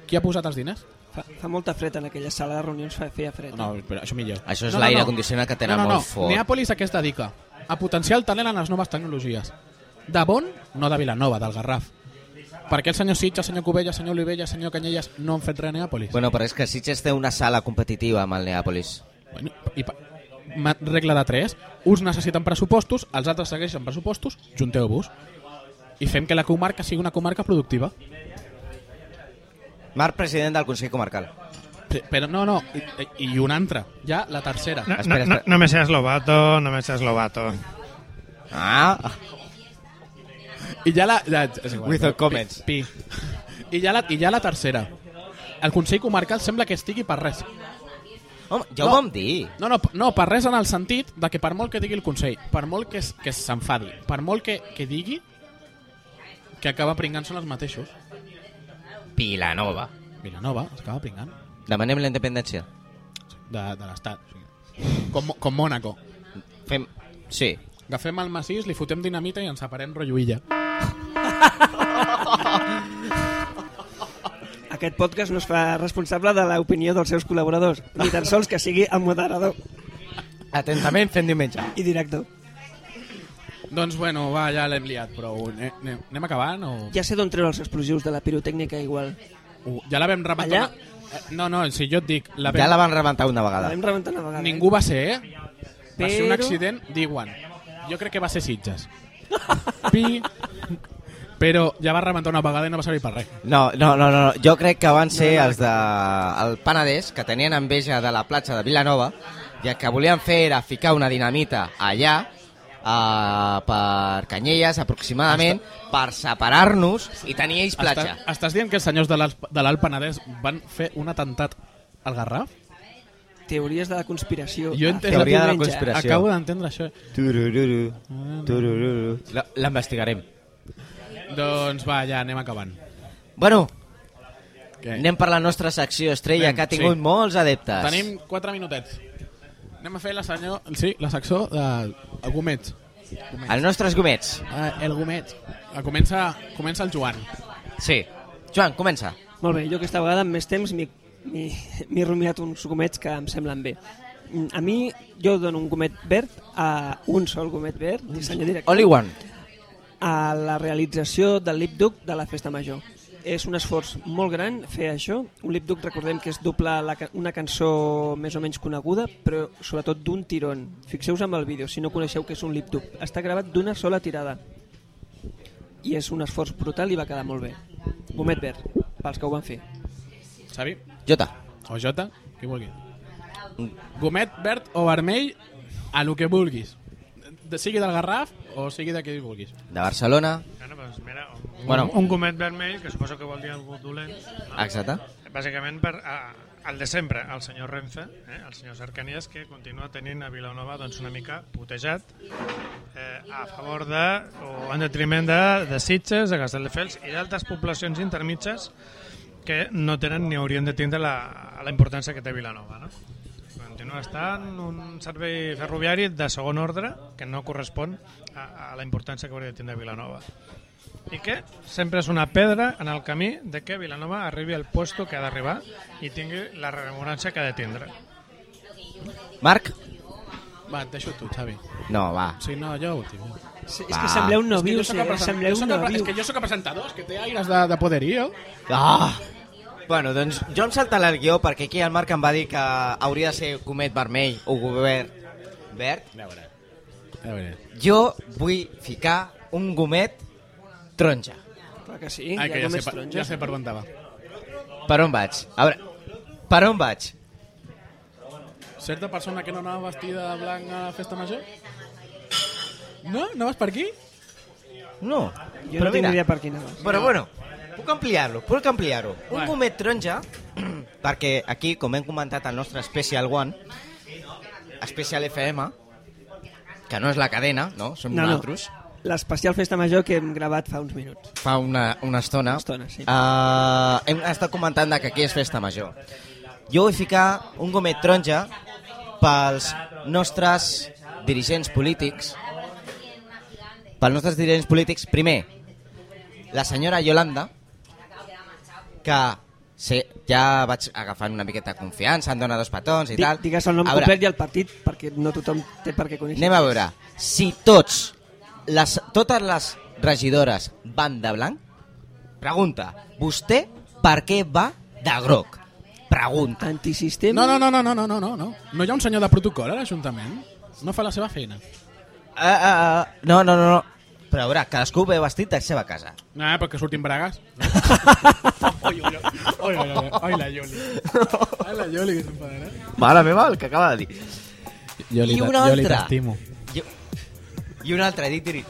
Qui ha posat els diners?
Fa, fa molta fred en aquella sala de reunions, fa, feia fred.
No, però això millor.
Això és
no,
l'aire
no, no.
condicionat que tenen
no, no, no.
molt fort.
Neàpolis a què es dedica? A potenciar el talent en les noves tecnologies. De Bon, no de Vilanova, del Garraf. Per què el senyor Sitja, el senyor Cubella, el senyor Olivella, el senyor Canyelles no han fet res a Neàpolis?
Bueno, però és que Sitges té una sala competitiva amb el Neàpolis.
Bueno, i pa... ma- regla de 3. Uns necessiten pressupostos, els altres segueixen pressupostos, junteu-vos. I fem que la comarca sigui una comarca productiva.
Marc, president del Consell Comarcal.
Pe- Però no, no, i, i una altra. Ja la tercera.
No,
Espera,
no,
espera.
no, no me seas lobato, no me seas lobato.
Ah,
I ja la... Ja, és igual,
Without
Pi-
comments.
Pi, I, ja la, I ja la tercera. El Consell Comarcal sembla que estigui per res.
home, ja ho
No.
vam dir.
No, no, p- no, per res en el sentit de que per molt que digui el Consell, per molt que, es- que s'enfadi, per molt que, que digui, que acaba pringant-se en els mateixos.
Vilanova.
Vilanova es acaba pringant
Demanem la independència.
de, de l'Estat. O sigui, com, Mo- com Mònaco.
Fem... Sí.
Agafem el massís, li fotem dinamita i ens separem rotllo illa.
Aquest podcast no es fa responsable de l'opinió dels seus col·laboradors, ni tan sols que sigui el moderador
Atentament fent diumenge.
i director.
Doncs bueno, va, ja l'hem liat, però ne, ne, anem acabant o...
Ja sé d'on treu els explosius de la pirotècnica igual.
Uh, ja la vam rebentar.
Allà?
una- Eh, No, no, si jo et dic... La vam...
Ja la van rebentar una
La
vegada.
vam rebentar una vegada.
Ningú va ser, eh? Va ser un
Però-
accident, diuen. Jo crec que va ser Sitges. <laughs> Pi... Però ja va rebentar una vegada i no va servir per res.
No, no, no, no, jo crec que van ser els de el Penedès que tenien enveja de la platja de Vilanova i el que volien fer era ficar una dinamita allà eh, per Canyelles aproximadament per separar-nos i tenir ells platja.
Estàs, estàs dient que els senyors de l'Alt de l'Alt Penedès van fer un atemptat al Garraf?
eh? Teories de la conspiració.
Jo he entès
Ah,
Teoria
de la
diumenge.
conspiració. Operació.
Acabo d'entendre això.
Turururu, turururu. La- L'investigarem.
Doncs va, ja anem acabant.
Bueno,
Què?
anem per la nostra secció estrella
Anem,
que ha tingut
sí.
molts adeptes.
Tenim 4 minutets. Anem a fer la, senyor, sí, la secció del de, gomet.
Els nostres gomets.
Ah, el gomet. Ah, Comença, comença el Joan.
Sí. Joan, comença.
Molt bé, jo aquesta vegada amb més temps m'hi- m'hi m'hi he rumiat uns gomets que em semblen bé. Mm, A mi, jo dono un gomet verd, a un sol gomet verd, dissenyor director.
Only one.
a la realització del lipduc de la Festa Major. És un esforç molt gran fer això. Un lipduc, recordem que és doble la, ca- una cançó més o menys coneguda, però sobretot d'un tirón. Fixeu-vos amb el vídeo, si no coneixeu què és un lipduc. Està gravat d'una sola tirada. I és un esforç brutal i va quedar molt bé. Gomet verd, pels que ho van fer.
Xavi?
Jota.
O Jota? Qui vulgui. Gomet verd o vermell, a lo que vulguis. De, sigui del Garraf o sigui de qui vulguis.
De Barcelona.
Bueno, doncs mira, un,
Bueno.
bueno. un gomet vermell, que suposo que vol dir algú dolent, no?
Exacte.
bàsicament per a, el de sempre, el senyor Renfe, eh, el senyor Cercanies, que continua tenint a Vilanova doncs, una mica putejat eh, a favor de, o en detriment de, de Sitges, de Castelldefels i d'altres poblacions intermitges que no tenen ni haurien de tindre la, la importància que té Vilanova. No? Continua estant un servei ferroviari de segon ordre que no correspon a, a la importància que hauria de tindre Vilanova. I que sempre és una pedra en el camí de que Vilanova arribi al puesto que ha d'arribar i tingui la remuneració que ha de tindre.
Marc?
Va, et deixo tu, Xavi.
No, va.
Si no, jo últim.
Sí, és
Va.
que sembleu un
És que
noviu,
jo sóc el
eh?
presen-
sembleu
jo
un
sóc el pre- és
noviu.
que jo sóc el presentador, és que té aires de, de poderío.
Ah! Bueno, doncs jo em saltaré el guió perquè aquí el Marc em va dir que hauria de ser comet vermell o govern verd.
A veure. A veure.
Jo vull ficar un gomet taronja.
Clar que sí,
Ah,
hi ha
que ja, sé,
gomets
per, ja
taronja.
sé per on te va.
Per on vaig? A veure, per on vaig?
Certa persona que no anava vestida de blanc a la festa major? No? No vas per aquí?
No,
Jo no tinc idea per quina vas.
Però bueno, puc ampliar-lo, puc ampliar-ho. Un
Bueno.
gomet taronja, <clears throat> perquè aquí, com hem comentat al nostre Special One, Special FM, que no és la cadena, no? Som
No, no,
nosaltres.
l'especial Festa Major que hem gravat fa uns minuts.
Fa una, una estona.
Una estona, sí.
Eh, hem estat comentant de que aquí és festa major. Jo vull ficar un gomet taronja pels nostres dirigents polítics, pels nostres dirigents polítics, primer, la senyora Yolanda, que sí, ja vaig agafant una miqueta de confiança, em dona dos petons i
Di-
tal.
Digues el nom
A veure,
complet i el partit, perquè no tothom té per què conèixer.
Anem a veure, si tots les, totes les regidores van de blanc, pregunta, vostè per què va de groc? Pregunta.
Antisistema.
No, no, no, no, no, no, no, no, no. No hi ha un senyor de protocol a l'Ajuntament? No fa la seva feina.
Uh, uh, no, no, no, no. Però a veure, cadascú ve vestit de seva casa.
Ah, perquè surtin bragues. oi, oi, oi, oi, oi, oi, la Yoli. Ai, la Yoli, que s'enfadarà.
Mare meva, el que acaba de dir.
Yoli,
I
t'a-
una
Yoli
altra.
t'estimo.
I, i un altre, dit, dit.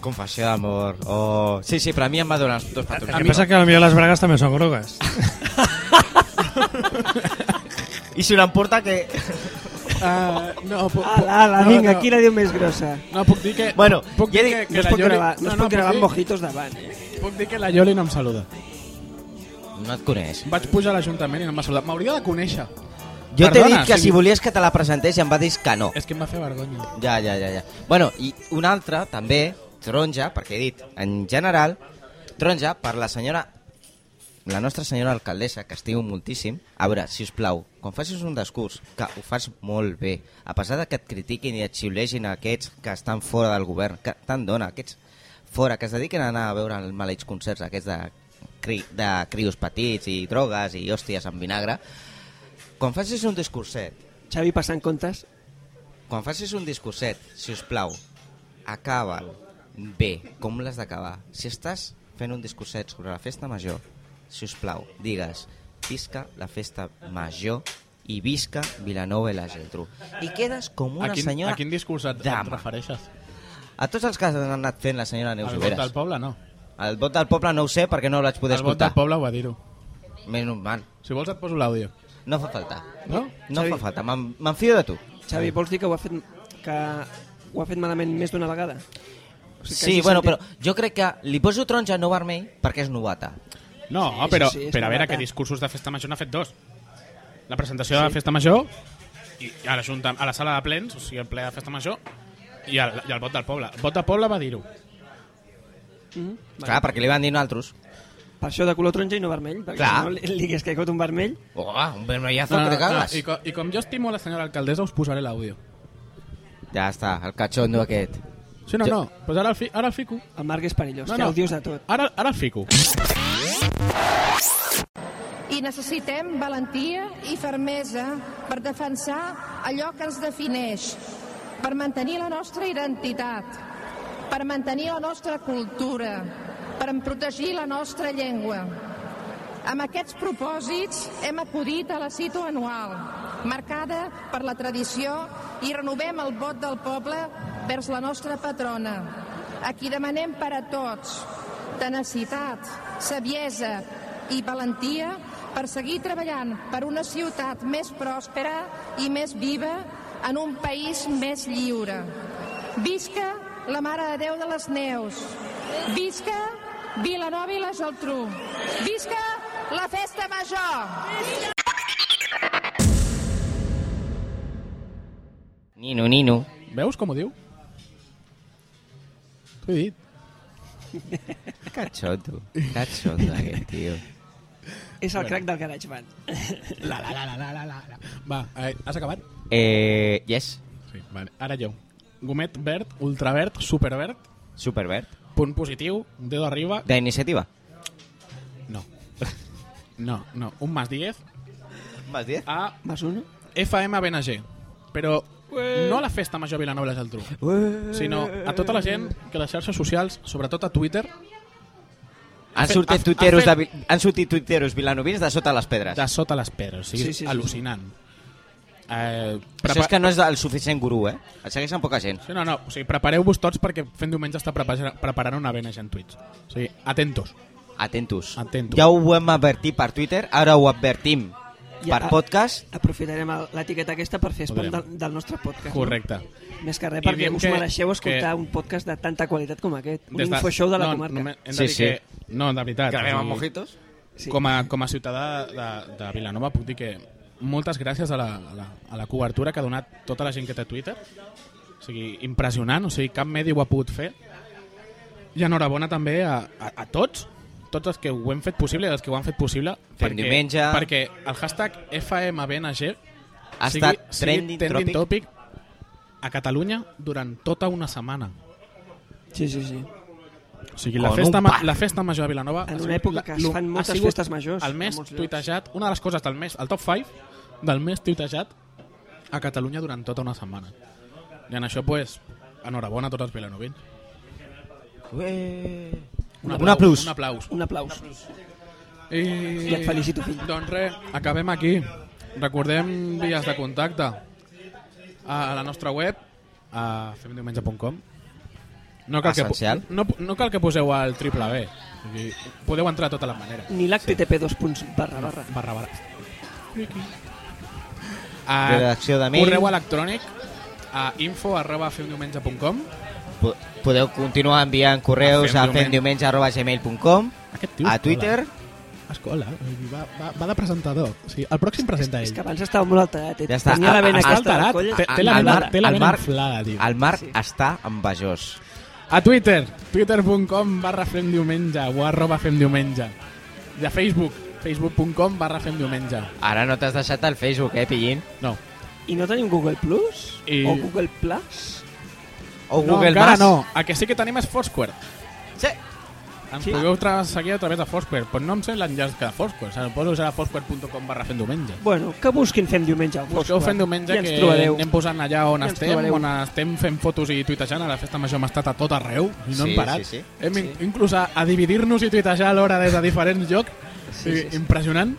Confessió d'amor. Oh. Sí, sí, però a mi em va donar els dos petons.
El que passa que potser les bragues també són grogues.
Ah,
I si l'emporta que...
Ah, no, puc,
Ala, ala, vinga, quina diu més grossa.
No, puc dir que...
Bueno,
puc
ja
dir
dic-
que, que
No es
la
pot
Yoli...
gravar, no, no, es pot gravar
puc
amb
dir-
mojitos davant, eh?
Puc dir que la Yoli no em saluda.
No et coneix.
Vaig pujar a l'Ajuntament i no em va saludar. M'hauria de conèixer.
Jo t'he
Perdona,
dit que
sí.
si volies que te la presentés i em va dir que no.
És que em va fer vergonya.
Ja, ja, ja, ja. Bueno, i un altre, també, taronja, perquè he dit, en general, taronja per la senyora la nostra senyora alcaldessa, que estimo moltíssim, a veure, si us plau, quan facis un discurs, que ho fas molt bé, a pesar de que et critiquin i et xiulegin aquests que estan fora del govern, que tant dona, aquests fora, que es dediquen a anar a veure els maleïts concerts aquests de, cri, de crios petits i drogues i hòsties amb vinagre, quan facis un discurset
Xavi passant comptes.
quan facis un discurset, si us plau, acaba'l bé, com l'has d'acabar. Si estàs fent un discurset sobre la festa major, si us plau, digues visca la festa major i visca Vilanova i la Geltrú. I quedes com
A
una
quin,
senyora...
a quin discurs et, et
dama.
refereixes?
A tots els que han anat fent la senyora Neus
Al vot del
Lloberes.
poble, no.
El vot del poble no ho sé perquè no el vaig poder
El vot
escoltar.
del poble ho va dir-ho.
Menys mal.
Si vols et poso l'àudio.
No fa falta.
No?
No
Xavi.
fa falta. Me'n m'enfio de tu.
Xavi, vols dir que ho ha fet, que ho ha fet malament més d'una vegada? O sigui, que
Sí,
hagi
bueno,
sentit-
però jo crec que li poso taronja no vermell perquè és novata.
No,
Sí,
però,
sí, sí, és
però a veure,
novata.
que discursos de festa major n'ha fet dos. La presentació de la festa major i a la, junta, a la sala de plens, o sigui, el ple de festa major, i el, i el vot del poble. El vot del poble va dir-ho.
Clar, perquè li van dir nosaltres.
Per això de color taronja i no vermell, perquè
Clar.
si no li, li hagués caigut un vermell.
Oh, un vermellazo que te cagas.
Ah, I, co, I com jo estimo la senyora alcaldessa, us posaré l'àudio.
Ja està, el cachondo aquest.
Sí, no,
Jo-
no. Pues ara el, fi, ara el fico.
El Marc és perillós,
No,
no,
no.
no. que ho dius de tot.
Ara, ara el fico.
i necessitem valentia i fermesa per defensar allò que ens defineix, per mantenir la nostra identitat, per mantenir la nostra cultura, per protegir la nostra llengua. Amb aquests propòsits hem acudit a la cita anual, marcada per la tradició i renovem el vot del poble vers la nostra patrona, a qui demanem per a tots tenacitat, saviesa i valentia per seguir treballant per una ciutat més pròspera i més viva en un país més lliure. Visca la Mare de Déu de les Neus. Visca Vilanova i la Geltrú. Visca la Festa Major!
Nino, nino.
Veus com ho diu? T'ho he dit.
Cachondo. Cachondo aquest, tio.
És el crac del GarageBand.
La, la, la, la, la, la, la, la. Va, eh, has acabat?
Eh, yes.
Sí, vale. Ara jo. Gomet verd, ultraverd, superverd,
Superbert.
punt positiu, dedo arriba...
D'iniciativa.
No. <laughs> No, no. Un más 10
Vas dir?
a
Mas uno?
FM BNG. Però no a la festa major Vilanova i la Geltrú,
Eh.
sinó a tota la gent que a les xarxes socials, sobretot a Twitter,
Han
fet-
sortit
ha- ha
tuiteros,
fet-
de, Vil- han sortit tuiteros vilanovins de sota les pedres.
de sota les pedres. O sigui,
Sí,
sí,
sí, sí,
sí,
sí.
al·lucinant. Eh,
Això és que no és el suficient gurú, eh? El segueixen poca gent.
Sí, no, no, o sigui, prepareu-vos tots perquè fent diumenge està preparant, preparant una vena gent tuits. O sigui, atentos.
Atentos.
Atentos.
Ja ho vam advertir per Twitter, ara ho advertim
Ja.
ah.
per podcast.
Aprofitarem el- l'etiqueta aquesta per fer spam
Podrem.
del, del nostre podcast.
Correcte.
No? Més que res,
I
perquè
diem
us
que-
mereixeu
que-
escoltar un podcast de tanta qualitat com aquest. Un infoshow de la
no,
comarca.
només hem de
Sí,
dir
sí.
Que, no, de veritat. o sigui,
mojitos.
Sí.
Com, a, com a ciutadà de, de Vilanova puc dir que moltes gràcies a la, a la, a la cobertura que ha donat tota la gent que té Twitter O sigui, impressionant, o sigui, cap medi ho ha pogut fer. I enhorabona també a, a, a tots, tots els que ho hem fet possible i els que ho han fet possible.
Fem diumenge.
Perquè el hashtag FMBNG
Ha estat trending
trending
topic.
topic a Catalunya durant tota una setmana.
Sí, sí, sí.
O sigui, la
Con
festa,
un
ma-
pan.
la festa major de Vilanova... ha
En una
sigut
època
la-
que es
lo-
fan
ha
moltes
sigut
festes majors
El
a
més
molts llocs.
tuitejat, una de les coses del mes, el top 5 del més tuitejat a Catalunya durant tota una setmana. I en això, pues, enhorabona a tots els vilanovins.
Ué.
Un
Un aplaus.
Un aplaus.
Un aplaus.
I,
I et felicito, fill.
Doncs res, acabem aquí. Recordem vies de contacte a la nostra web, a femdiumenge.com. No cal, que,
Essencial.
po- no, no cal que poseu al triple B. O sigui, podeu entrar de totes les maneres.
Ni l'HTTP dos punts barra barra.
barra barra. Ah,
Redacció de mail.
Correu electrònic a info arroba femdiumenge.com
Po- Podeu continuar enviant correus a
A
femdiumenge.gmail.com
Aquest
a Twitter.
Escola, va, va, va de presentador. O sigui, el pròxim presenta
És que abans estava molt alterat. eh?
Ja està.
Tenia la vena
Està
aquesta del
alterat.
coll
Té- té la
inflada.
El
vena-
Marc-
té la
el
vena
Marc-
inflada, tio.
El Marc està envejós.
A Twitter, twitter.com barra femdiumenge o arroba femdiumenge. I a Facebook, facebook.com barra femdiumenge.
Ara no t'has deixat el Facebook, eh, Pillín?
No,
I no tenim Google Plus?
I-
O Google Plus?
O
no
Google
encara
Maps?
no. El que sí que tenim és Foursquare.
Sí.
Ens
Sí.
podeu tra- seguir a través de Foursquare, però no em sé l'enllaç que de Foursquare. O sigui, suposo que serà foursquare.com barra femdiumenge.
Bueno, que busquin Fem Diumenge. al
Busqueu
Foursquare.
fent diumenge
I ens
que
trobareu.
anem posant allà on
I ens
estem,
trobareu.
on estem fent fotos i tuitejant. A la festa major hem estat a tot arreu i no
Sí,
hem parat.
sí, sí.
Hem in- inclús a, a dividir-nos i tuitejar alhora des de diferents llocs.
Sí,
Sí,
sí, sí.
Impressionant.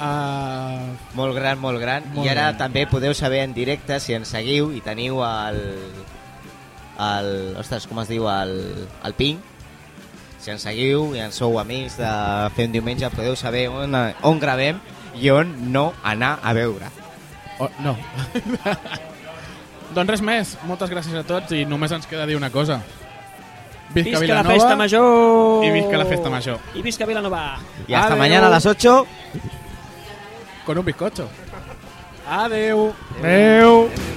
Uh,
Molt gran, molt gran.
Molt
I ara
gran.
també podeu saber en directe si ens seguiu i teniu el... el ostres, com es diu? El, el ping. Si ens seguiu i ens sou amics de Fem Diumenge, podeu saber on, on gravem i on no anar a veure.
oh, no. <laughs> doncs res més. Moltes gràcies a tots i només ens queda dir una cosa. Visca,
Visca la
Vilanova.
festa major!
i visca la festa major.
I visca Vilanova!
Y hasta
Adeu.
mañana a las 8.
Con un bizcocho. Adeu.
Adéu!